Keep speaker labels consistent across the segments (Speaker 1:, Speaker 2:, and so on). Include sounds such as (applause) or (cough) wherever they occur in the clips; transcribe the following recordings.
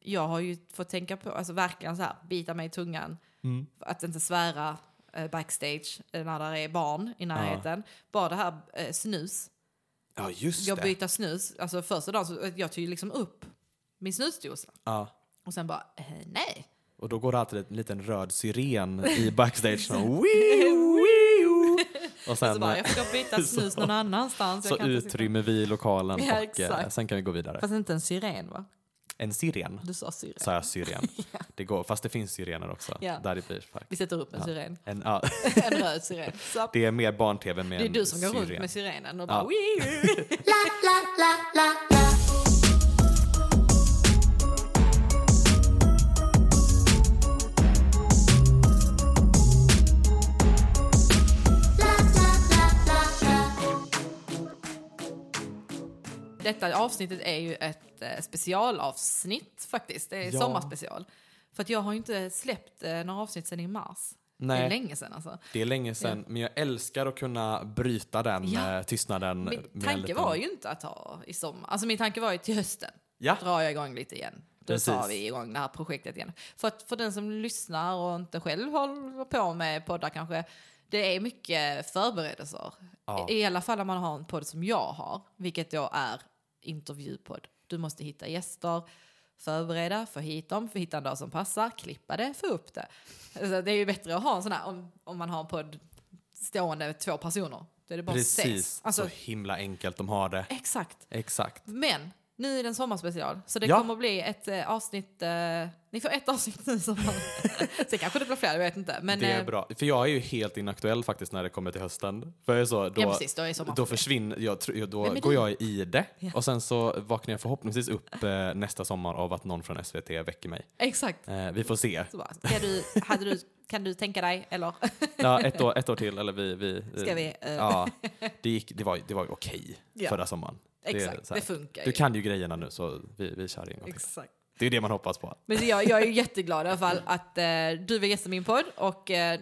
Speaker 1: jag har ju fått tänka på, alltså verkligen så här, bita mig i tungan.
Speaker 2: Mm.
Speaker 1: Att inte svära eh, backstage eh, när där är barn i närheten. Bara det här eh, snus,
Speaker 2: Ja, just
Speaker 1: jag
Speaker 2: det.
Speaker 1: byter snus. Alltså första dagen så jag tog ju liksom upp min snusdosa.
Speaker 2: Ja.
Speaker 1: Och sen bara, eh, nej.
Speaker 2: Och då går det alltid en liten röd siren
Speaker 1: (laughs)
Speaker 2: i backstage. Och, wii, wii, och
Speaker 1: så
Speaker 2: sen
Speaker 1: bara,
Speaker 2: eh,
Speaker 1: jag får
Speaker 2: (laughs)
Speaker 1: byta snus någon annanstans.
Speaker 2: så,
Speaker 1: jag kan inte sitta-
Speaker 2: utrymmer vi lokalen
Speaker 1: (laughs) Ja,
Speaker 2: och eh,
Speaker 1: exakt.
Speaker 2: sen kan vi gå vidare.
Speaker 1: Fast inte en syren va?
Speaker 2: En siren,
Speaker 1: Du sa syren.
Speaker 2: sa
Speaker 1: (laughs)
Speaker 2: jag syren. Det går, fast det finns syrener också.
Speaker 1: Ja.
Speaker 2: Där i Birch Park.
Speaker 1: Vi sätter upp en
Speaker 2: Ja.
Speaker 1: syren. (laughs)
Speaker 2: En, ja, (laughs)
Speaker 1: En röd syren. Så,
Speaker 2: det är mer barn-tv med
Speaker 1: det är
Speaker 2: en
Speaker 1: du som går runt
Speaker 2: syren.
Speaker 1: med syrenen och
Speaker 2: Ja.
Speaker 1: bara "Wii, wii." Detta avsnittet är ju ett eh, specialavsnitt faktiskt. Det är
Speaker 2: Ja.
Speaker 1: sommarspecial. För att jag har ju inte släppt eh, några avsnitt sedan i mars. Det är
Speaker 2: Nej,
Speaker 1: länge sedan alltså.
Speaker 2: det är länge sedan. Men jag älskar att kunna bryta den
Speaker 1: Ja.
Speaker 2: eh, tystnaden. med en
Speaker 1: Min tanke
Speaker 2: liten-
Speaker 1: var ju inte att ha i sommar. Alltså min tanke var ju till hösten.
Speaker 2: Ja.
Speaker 1: Drar jag igång lite igen. Då
Speaker 2: Precis.
Speaker 1: tar vi igång det här projektet igen. För att för den som lyssnar och inte själv håller på med poddar kanske. Det är mycket förberedelser.
Speaker 2: Ja.
Speaker 1: I alla fall när man har en podd som jag har. Vilket då är intervjupodd. Du måste hitta gäster. Förbereda, få hit dem, få hitta en dag som passar, klippa det, få upp det. Alltså, det är ju bättre att ha en sån här, om, om man har en podd stående två personer. Då är det bara att ses.
Speaker 2: Precis,
Speaker 1: Alltså, Eh.
Speaker 2: så himla enkelt de har det.
Speaker 1: Exakt.
Speaker 2: Exakt.
Speaker 1: Men nu är det en sommarspecial, så det
Speaker 2: Ja.
Speaker 1: kommer bli ett eh, avsnitt. Eh, ni får ett avsnitt nu i
Speaker 2: (laughs)
Speaker 1: sommar. Sen kanske det blir fler, jag vet inte. Men,
Speaker 2: det är
Speaker 1: eh,
Speaker 2: bra. För jag är ju helt inaktuell faktiskt när det kommer till hösten. För jag är så, då,
Speaker 1: Ja, precis, då är sommaren
Speaker 2: då
Speaker 1: förbi.
Speaker 2: försvinner, jag, tr- jag- då
Speaker 1: Vem är
Speaker 2: går
Speaker 1: du?
Speaker 2: jag i det.
Speaker 1: Ja.
Speaker 2: Och sen så vaknar jag förhoppningsvis upp eh, nästa sommar av att någon från SVT väcker mig.
Speaker 1: Exakt.
Speaker 2: Eh, vi får se.
Speaker 1: Så bara, ska du, hade du, kan du tänka dig, eller
Speaker 2: Ja, ett, år, ett år till, eller vi... vi eh,
Speaker 1: ska vi? Eh,
Speaker 2: Ja, det, gick, det var, det var ju okej
Speaker 1: Ja. Eh.
Speaker 2: förra sommaren. det är
Speaker 1: exakt,
Speaker 2: så
Speaker 1: det,
Speaker 2: här.
Speaker 1: funkar
Speaker 2: Du
Speaker 1: ju.
Speaker 2: kan ju grejerna nu så vi, vi kör en gång till.
Speaker 1: Exakt.
Speaker 2: Det är det man hoppas på.
Speaker 1: Men jag, jag är ju jätteglad i alla fall att eh, du var gäst i min podd och eh,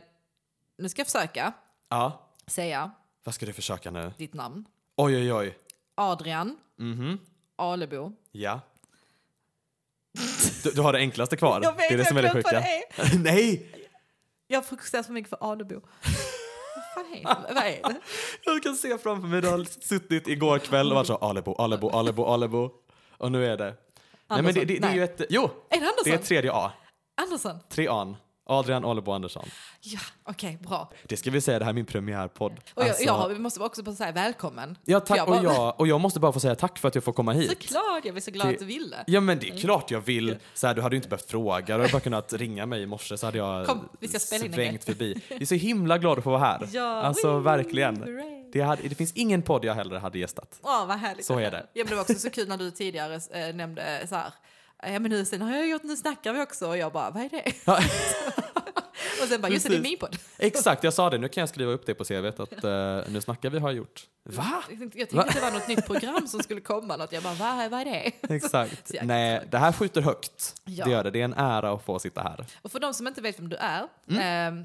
Speaker 1: nu ska jag försöka
Speaker 2: Ja,
Speaker 1: säga
Speaker 2: vad ska du försöka nu?
Speaker 1: ditt namn.
Speaker 2: Oj, oj, oj.
Speaker 1: Adrian
Speaker 2: Mhm.
Speaker 1: Alebo.
Speaker 2: Ja. Du, du har det enklaste kvar.
Speaker 1: Jag vet,
Speaker 2: det är det
Speaker 1: jag
Speaker 2: som
Speaker 1: har
Speaker 2: är det
Speaker 1: glömt vad
Speaker 2: sjuka.
Speaker 1: det är.
Speaker 2: (laughs) Nej!
Speaker 1: Jag fokuserar så mycket för Adebo. Vad fan är det? Vad är det?
Speaker 2: Jag kan se framför mig, du har suttit igår kväll och varit så Alebo, Alebo, Alebo, Alebo. Och nu är det... Nej men det, det, det är ju ett... Jo!
Speaker 1: Är det Andersson?
Speaker 2: Det är tredje A.
Speaker 1: Andersson?
Speaker 2: Trean. Adrian Alebo Andersson.
Speaker 1: Ja, okej, bra.
Speaker 2: Det ska vi säga, det här är min premiärpodd.
Speaker 1: Och jag,
Speaker 2: Alltså-
Speaker 1: jag, vi måste också bara säga välkommen.
Speaker 2: ja, tack,
Speaker 1: jag
Speaker 2: och, jag, och jag måste bara få säga tack för att jag får komma hit.
Speaker 1: Såklart, Mm. jag blir så glad
Speaker 2: Det-
Speaker 1: att du ville.
Speaker 2: Ja men det är klart jag vill. Så här, du hade ju inte behövt fråga, du hade bara kunnat ringa mig i morse så hade jag
Speaker 1: Kom, vi ska spela in en
Speaker 2: svängt förbi. Jag är så himla glad att få vara här.
Speaker 1: Ja,
Speaker 2: alltså
Speaker 1: woo,
Speaker 2: verkligen.
Speaker 1: hurray.
Speaker 2: Det, hade, det finns ingen podd jag hellre hade gästat.
Speaker 1: Åh, vad härligt.
Speaker 2: Så är det.
Speaker 1: Ja, men det var också så kul när du tidigare eh, nämnde eh, så här, ja men nu, sen har jag gjort, nu snackar vi också och jag bara, vad är det?
Speaker 2: Ja.
Speaker 1: (laughs) och sen bara, just det, det är
Speaker 2: Precis.
Speaker 1: min podd.
Speaker 2: Exakt, jag sa det, nu kan jag skriva upp det på CVt att eh, nu snackar vi har jag gjort.
Speaker 1: (laughs)
Speaker 2: Va?
Speaker 1: Jag tänkte jag tänkte att det var något nytt program som skulle komma, något. jag bara, vad, är- vad är det?
Speaker 2: Exakt.
Speaker 1: Så jäkla
Speaker 2: Nej, det här skjuter högt.
Speaker 1: Ja.
Speaker 2: Det gör det, det är en ära att få sitta här.
Speaker 1: Och för de som inte vet vem du är, ehm,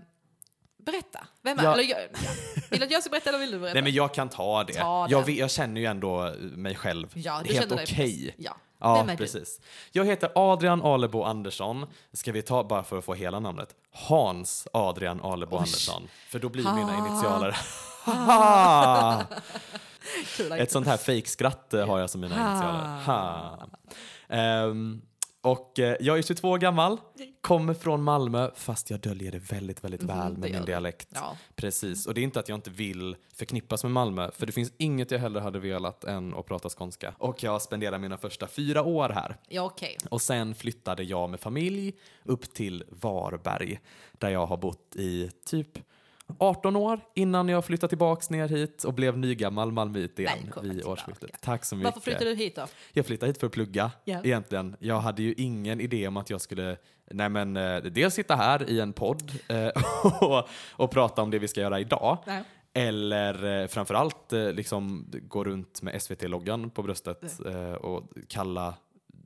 Speaker 1: berätta. Vem är
Speaker 2: Mm. Ja.
Speaker 1: eller, jag, ja. Vill du att jag ska berätta eller vill du berätta?
Speaker 2: Nej men jag kan ta det.
Speaker 1: Ta den.
Speaker 2: jag, vet- jag känner ju ändå mig själv.
Speaker 1: ja, du
Speaker 2: Helt
Speaker 1: känner dig
Speaker 2: okej.
Speaker 1: precis. Ja.
Speaker 2: Ja,
Speaker 1: Vem är du?
Speaker 2: precis. Jag heter Adrian Alebo Andersson. Ska vi ta, bara för att få hela namnet, Hans Adrian Alebo Andersson. För då blir mina initialer... Ha.
Speaker 1: Kul,
Speaker 2: Ett sånt här fejkskratt eh, har jag som mina initialer. Ha. Ehm, och eh, jag är 22 år gammal, kommer från Malmö, fast jag döljer det väldigt, väldigt väl
Speaker 1: Mm, det
Speaker 2: med
Speaker 1: gör
Speaker 2: min
Speaker 1: du.
Speaker 2: dialekt.
Speaker 1: Ja.
Speaker 2: Precis, och det är inte att jag inte vill förknippas med Malmö, för det finns inget jag hellre hade velat än att prata skånska. Och jag spenderade mina första fyra år här.
Speaker 1: Ja, okej.
Speaker 2: Och sen flyttade jag med familj upp till Varberg där jag har bott i typ 18 år innan jag flyttade tillbaks ner hit och blev nygammal malmöit igen
Speaker 1: Välkommen
Speaker 2: vid
Speaker 1: tillbaka.
Speaker 2: årsskiftet. Tack så mycket.
Speaker 1: Varför flyttade du hit då?
Speaker 2: Jag flyttade hit för att plugga
Speaker 1: Ja.
Speaker 2: egentligen. Jag hade ju ingen idé om att jag skulle nej men, eh, dels sitta här i en podd eh, (laughs) och, och prata om det vi ska göra idag.
Speaker 1: Nej.
Speaker 2: Eller eh, framförallt eh, liksom gå runt med SVT-loggan på bröstet
Speaker 1: Mm.
Speaker 2: eh, och kalla,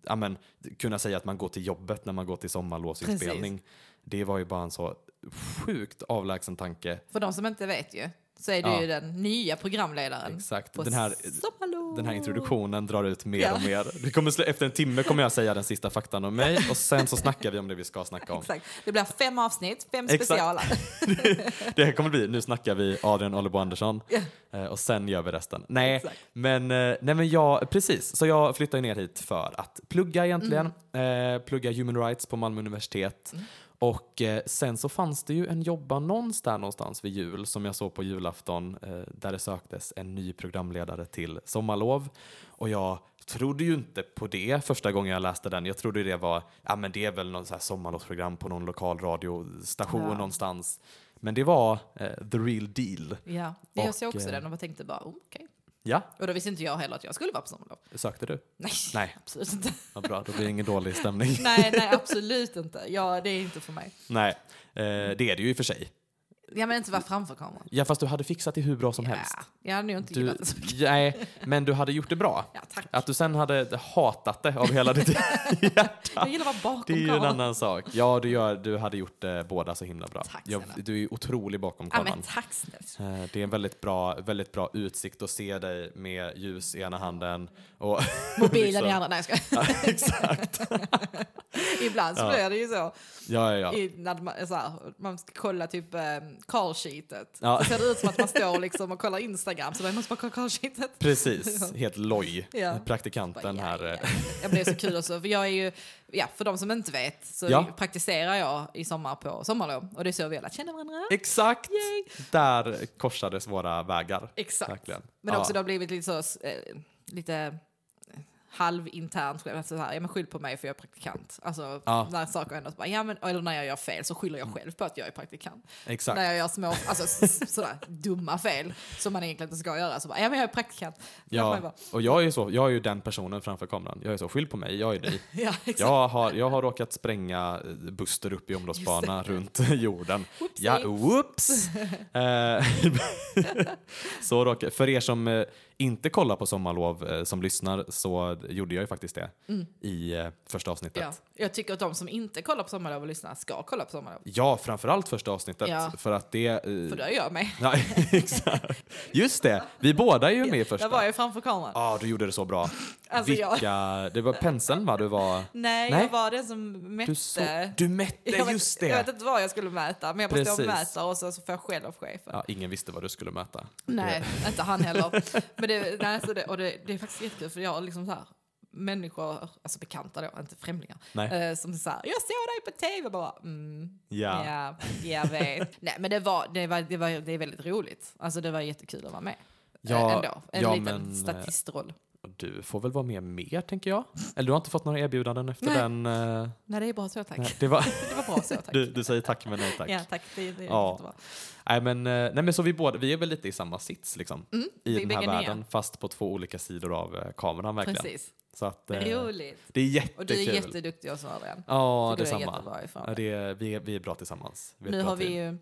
Speaker 2: ja men kunna säga att man går till jobbet när man går till sommarlovsinspelning. Det var ju bara en så sjukt avlägsen tanke.
Speaker 1: För de som inte vet ju, så är du
Speaker 2: Ja.
Speaker 1: ju den nya programledaren.
Speaker 2: Exakt.
Speaker 1: På
Speaker 2: Den här
Speaker 1: Sommarlov.
Speaker 2: den här introduktionen drar ut mer och mer. Vi kommer, slu- efter en timme kommer jag säga den sista faktan om mig och sen så snackar vi om det vi ska snacka om.
Speaker 1: (laughs) Exakt. Det blir fem avsnitt, fem
Speaker 2: Exakt. (laughs)
Speaker 1: specialer.
Speaker 2: Det här kommer bli, nu snackar vi Adrian Ollebo Andersson eh, och sen gör vi resten. Nej,
Speaker 1: Exakt.
Speaker 2: men, eh, nej men jag, precis, så jag flyttade ner hit för att plugga egentligen, eh, plugga human rights på Malmö universitet. Och eh, sen så fanns det ju en jobbannons där någonstans vid jul som jag såg på julafton eh, där det söktes en ny programledare till sommarlov. Och jag trodde ju inte på det första gången jag läste den. Jag trodde ju det var, ja men det är väl någon så här sommarlovsprogram på någon lokal radiostation
Speaker 1: Ja.
Speaker 2: någonstans. Men det var eh, the real deal.
Speaker 1: Ja, jag
Speaker 2: Och,
Speaker 1: såg också
Speaker 2: eh,
Speaker 1: den och bara tänkte bara oh, okej.
Speaker 2: Ja,
Speaker 1: Och då visste inte jag heller att jag skulle vara på sommarlov.
Speaker 2: sökte du?
Speaker 1: Nej, (laughs)
Speaker 2: Nej.
Speaker 1: absolut
Speaker 2: (laughs)
Speaker 1: inte.
Speaker 2: Vad bra, då blir det ingen dålig stämning.
Speaker 1: nej, nej, absolut inte. Ja, det är inte för mig.
Speaker 2: (laughs) Nej, eh, det är det ju i och för sig.
Speaker 1: Jag menar inte vara framför kameran.
Speaker 2: Ja, fast du hade fixat det hur bra som helst.
Speaker 1: Ja, jag hade nog inte
Speaker 2: Du,
Speaker 1: gillat (laughs) det så mycket.
Speaker 2: nej, men du hade gjort det bra.
Speaker 1: Ja, tack.
Speaker 2: Att du sen hade hatat det av
Speaker 1: (laughs)
Speaker 2: hela ditt hjärta.
Speaker 1: Jag gillar att vara bakom
Speaker 2: Det är ju en
Speaker 1: kameran.
Speaker 2: annan sak. Ja, du, gör, du hade gjort eh, båda så himla bra.
Speaker 1: Tack
Speaker 2: Jag,
Speaker 1: snälla.
Speaker 2: du är ju otrolig bakom
Speaker 1: Ja,
Speaker 2: kameran.
Speaker 1: men tack snällt.
Speaker 2: Eh, Det är en väldigt bra, väldigt bra utsikt att se dig med ljus i ena handen och (laughs)
Speaker 1: Mobilen
Speaker 2: liksom-
Speaker 1: i andra. Nej, jag skojar.
Speaker 2: (laughs) Ja, Exakt.
Speaker 1: (laughs) Ibland så
Speaker 2: Ja.
Speaker 1: blir det ju så.
Speaker 2: Ja, ja, ja.
Speaker 1: I, när man, så här, man ska kolla typ eh, call-sheetet.
Speaker 2: Ja.
Speaker 1: Så ser det ut som att man står liksom och kollar Instagram. Så bara, jag måste bara kolla call-sheetet. (laughs)
Speaker 2: Precis, helt loj.
Speaker 1: Ja.
Speaker 2: Praktikanten
Speaker 1: Bara,
Speaker 2: här.
Speaker 1: ja,
Speaker 2: eh,
Speaker 1: ja, ja. Jag blev så kul också, för jag är ju, ja, för de som inte vet så
Speaker 2: Ja.
Speaker 1: praktiserar jag i sommar på sommarlov och det är så vi har lärt känna varandra.
Speaker 2: Exakt!
Speaker 1: Yay.
Speaker 2: Där korsades våra vägar.
Speaker 1: Exakt.
Speaker 2: Verkligen.
Speaker 1: Men
Speaker 2: Ja.
Speaker 1: också det har blivit lite så, eh, lite eh, halvinternt, alltså så här, ja men skyll på mig för jag är praktikant. Alltså
Speaker 2: Ja. Mm.
Speaker 1: när saker händer så bara, ja men, eller när jag gör fel så skyller jag själv på att jag är praktikant.
Speaker 2: Exakt.
Speaker 1: När jag gör små, alltså s- sådär dumma fel som man egentligen inte ska göra så bara, ja men jag är praktikant. Så man
Speaker 2: Ja,
Speaker 1: bara,
Speaker 2: och jag är, ju så, jag är ju den personen framför kameran. Jag är så, skyll på mig, jag
Speaker 1: (laughs)
Speaker 2: är dig.
Speaker 1: ja exakt.
Speaker 2: Jag har, jag har råkat spränga eh, Buster upp i omloppsbana runt (laughs) jorden.
Speaker 1: Whoopsie.
Speaker 2: Ja, whoops!
Speaker 1: (laughs)
Speaker 2: Eh, (laughs) så råkar, för er som eh, inte kollar på Sommarlov eh, som lyssnar så gjorde jag ju faktiskt det i eh, första avsnittet.
Speaker 1: Mm. Ja. Jag tycker att de som inte kollar på Sommarlov och lyssnar ska kolla på Sommarlov.
Speaker 2: Ja, framförallt första avsnittet.
Speaker 1: Ja.
Speaker 2: För att det... eh,
Speaker 1: För
Speaker 2: (laughs)
Speaker 1: det gör jag mig.
Speaker 2: Ja, exakt. Just det, vi båda är ju med i första.
Speaker 1: Där var jag ju framför kameran.
Speaker 2: Ja, du gjorde det så bra.
Speaker 1: Alltså, jag-
Speaker 2: Vilka... Det var penseln va? Du var...
Speaker 1: Nej,
Speaker 2: Nej.
Speaker 1: jag var den som mätte.
Speaker 2: Du, så... du mätte,
Speaker 1: jag vet,
Speaker 2: just det!
Speaker 1: Jag vet inte vad jag skulle mäta, men jag bara står och
Speaker 2: Precis.
Speaker 1: mäter och så, så får jag skäll av chefen.
Speaker 2: Ja, ingen visste vad du skulle möta.
Speaker 1: Nej, inte han
Speaker 2: (laughs)
Speaker 1: heller. Men det, nej, så det, och det, det är faktiskt jättekul för jag har liksom så här människor, alltså bekanta då, inte främlingar,
Speaker 2: Nej.
Speaker 1: eh, som så här, jag såg dig på tv, bara mm,
Speaker 2: Ja.
Speaker 1: ja, jag
Speaker 2: (laughs)
Speaker 1: vet. nej, men det var, det var, det var, det är väldigt roligt. Alltså det var jättekul att vara med.
Speaker 2: Ja,
Speaker 1: Eh, Ändå, en
Speaker 2: ja,
Speaker 1: liten
Speaker 2: men, eh,
Speaker 1: statistroll.
Speaker 2: Du får väl vara med mer, tänker jag. Eller du har inte fått några erbjudanden efter
Speaker 1: Nej.
Speaker 2: den? eh,
Speaker 1: Nej, det är bra så tack.
Speaker 2: nej, det var...
Speaker 1: (laughs) Det var bra
Speaker 2: (laughs)
Speaker 1: så tack.
Speaker 2: du, du säger tack men nej tack.
Speaker 1: Ja, tack. Det, det är
Speaker 2: Ja.
Speaker 1: jättebra.
Speaker 2: Nej, men, eh, nej, men så vi, båda, vi är väl lite i samma sits liksom, i
Speaker 1: Mm, vi är
Speaker 2: den här
Speaker 1: bägge nya.
Speaker 2: världen, fast på två olika sidor av eh, kameran verkligen.
Speaker 1: Precis.
Speaker 2: Så att, eh,
Speaker 1: Roligt.
Speaker 2: det är jättekul.
Speaker 1: Och du är jätteduktig också Adrian.
Speaker 2: Ja,
Speaker 1: Tycker du är
Speaker 2: detsamma.
Speaker 1: jättebra ifrån
Speaker 2: Ja, det är, vi, är, vi är bra tillsammans. Vi är ett
Speaker 1: Nu
Speaker 2: bra
Speaker 1: har vi
Speaker 2: team.
Speaker 1: ju,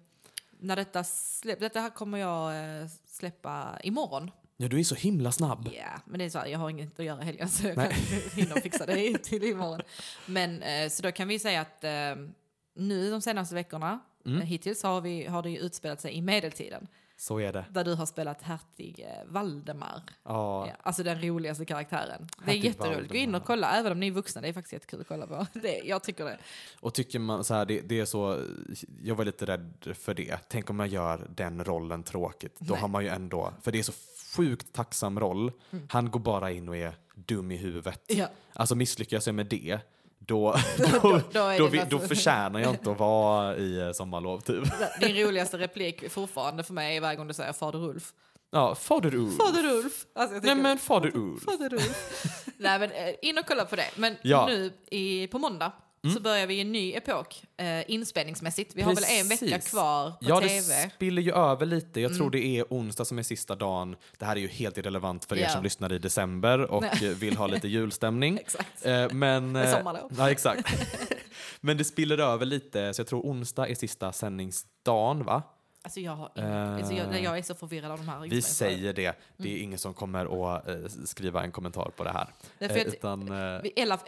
Speaker 1: när detta släpps, detta här kommer jag eh, släppa imorgon.
Speaker 2: Ja, du är så himla snabb.
Speaker 1: Ja, men det är så här, jag har inget att göra i helgen (laughs) så jag
Speaker 2: Nej.
Speaker 1: kan inte hinna fixa det (laughs) i- till imorgon. Men eh, så då kan vi säga att eh, nu de senaste veckorna,
Speaker 2: Mm.
Speaker 1: eh, hittills har, vi, har det ju utspelat sig i medeltiden.
Speaker 2: Så är det.
Speaker 1: Där du har spelat hertig eh, Valdemar.
Speaker 2: Ja,
Speaker 1: Ja, alltså den roligaste karaktären. Det är
Speaker 2: Hertig
Speaker 1: jätteroligt. Gå in
Speaker 2: Valdemar.
Speaker 1: och kolla, även om ni är vuxna. Det är faktiskt jättekul att kolla på. (laughs) Det, jag tycker det.
Speaker 2: Och tycker man så här, det, det är så, jag var lite rädd för det. Tänk om jag gör den rollen tråkigt. Då
Speaker 1: Nej.
Speaker 2: har man ju ändå, för det är så sjukt tacksam roll.
Speaker 1: Mm.
Speaker 2: Han går bara in och är dum i huvudet.
Speaker 1: Ja.
Speaker 2: Alltså misslyckas jag med det, då, (laughs) då,
Speaker 1: då är
Speaker 2: då,
Speaker 1: det
Speaker 2: vi-
Speaker 1: något-
Speaker 2: då förtjänar jag inte att vara i eh, sommarlov typ.
Speaker 1: (laughs) Din roligaste replik fortfarande för mig är varje gång du säger Fader Ulf.
Speaker 2: Ja, fader Ulf.
Speaker 1: Fader Ulf! Alltså jag
Speaker 2: Mm. Nej
Speaker 1: tycker,
Speaker 2: men fader Ulf.
Speaker 1: Fader Ulf. (laughs) Nej men eh, in och kolla på det. Men
Speaker 2: Ja. Mm.
Speaker 1: nu i, på måndag så börjar vi en ny epok eh, inspelningsmässigt. Vi har väl en vecka
Speaker 2: Precis.
Speaker 1: kvar på
Speaker 2: Ja,
Speaker 1: tv.
Speaker 2: det spiller ju över lite. Jag
Speaker 1: Mm.
Speaker 2: tror det är onsdag som är sista dagen. Det här är ju helt irrelevant för er
Speaker 1: Ja.
Speaker 2: som lyssnar i december och eh, vill ha lite julstämning.
Speaker 1: (laughs) Exakt.
Speaker 2: Eh, Men, eh,
Speaker 1: sommarlov.
Speaker 2: Ja, exakt. (laughs) Men det spiller över lite, så jag tror onsdag är sista sändningsdagen, va?
Speaker 1: Alltså jag, har ingen- alltså jag, jag är så förvirrad av de här
Speaker 2: eh, Vi
Speaker 1: inspelningsfrågorna.
Speaker 2: säger det. Det
Speaker 1: Mm.
Speaker 2: är ingen som kommer att eh, skriva en kommentar på det här.
Speaker 1: Nej, för
Speaker 2: Eh,
Speaker 1: jag ty-
Speaker 2: Utan, eh,
Speaker 1: Vi, eller, eh,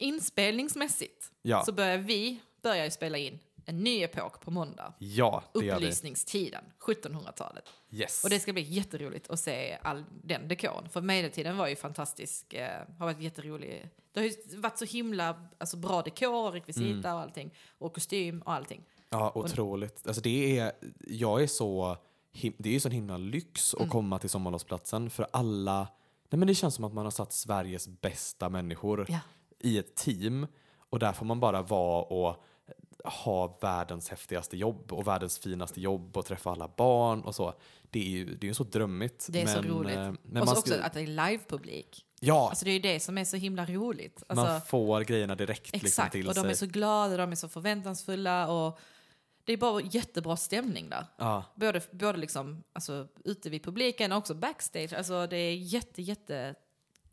Speaker 1: inspelningsmässigt
Speaker 2: Ja.
Speaker 1: så börjar vi börjar ju spela in eh, en ny epok på måndag.
Speaker 2: Ja, det gör vi.
Speaker 1: Upplysningstiden, 1700-talet.
Speaker 2: Yes.
Speaker 1: Och det ska bli jätteroligt att se all den dekorn. För medeltiden var ju fantastisk, eh, har varit jätterolig. Det har ju varit så himla alltså, bra dekor och rekvisita
Speaker 2: Mm.
Speaker 1: och allting. Och kostym och allting.
Speaker 2: Ja, otroligt. Alltså det är, jag är så, him- det är ju sån himla lyx
Speaker 1: Mm.
Speaker 2: att komma till sommarlovsplatsen för alla, nej men det känns som att man har satt Sveriges bästa människor
Speaker 1: Ja.
Speaker 2: i ett team och där får man bara vara och ha världens häftigaste jobb och världens finaste jobb och träffa alla barn och så. Det är ju det är ju så drömmigt.
Speaker 1: Det är så
Speaker 2: men,
Speaker 1: roligt.
Speaker 2: eh, Men
Speaker 1: och så
Speaker 2: man ska,
Speaker 1: också att det är livepublik.
Speaker 2: ja,
Speaker 1: Alltså det är ju det som är så himla roligt. Alltså,
Speaker 2: man får grejerna direkt liksom
Speaker 1: exakt,
Speaker 2: till
Speaker 1: och de
Speaker 2: sig.
Speaker 1: är så glada, de är så förväntansfulla och det är bara jättebra stämning där.
Speaker 2: ja.
Speaker 1: Både, både liksom, alltså, ute vid publiken och också backstage. Alltså, det är jätte, jätte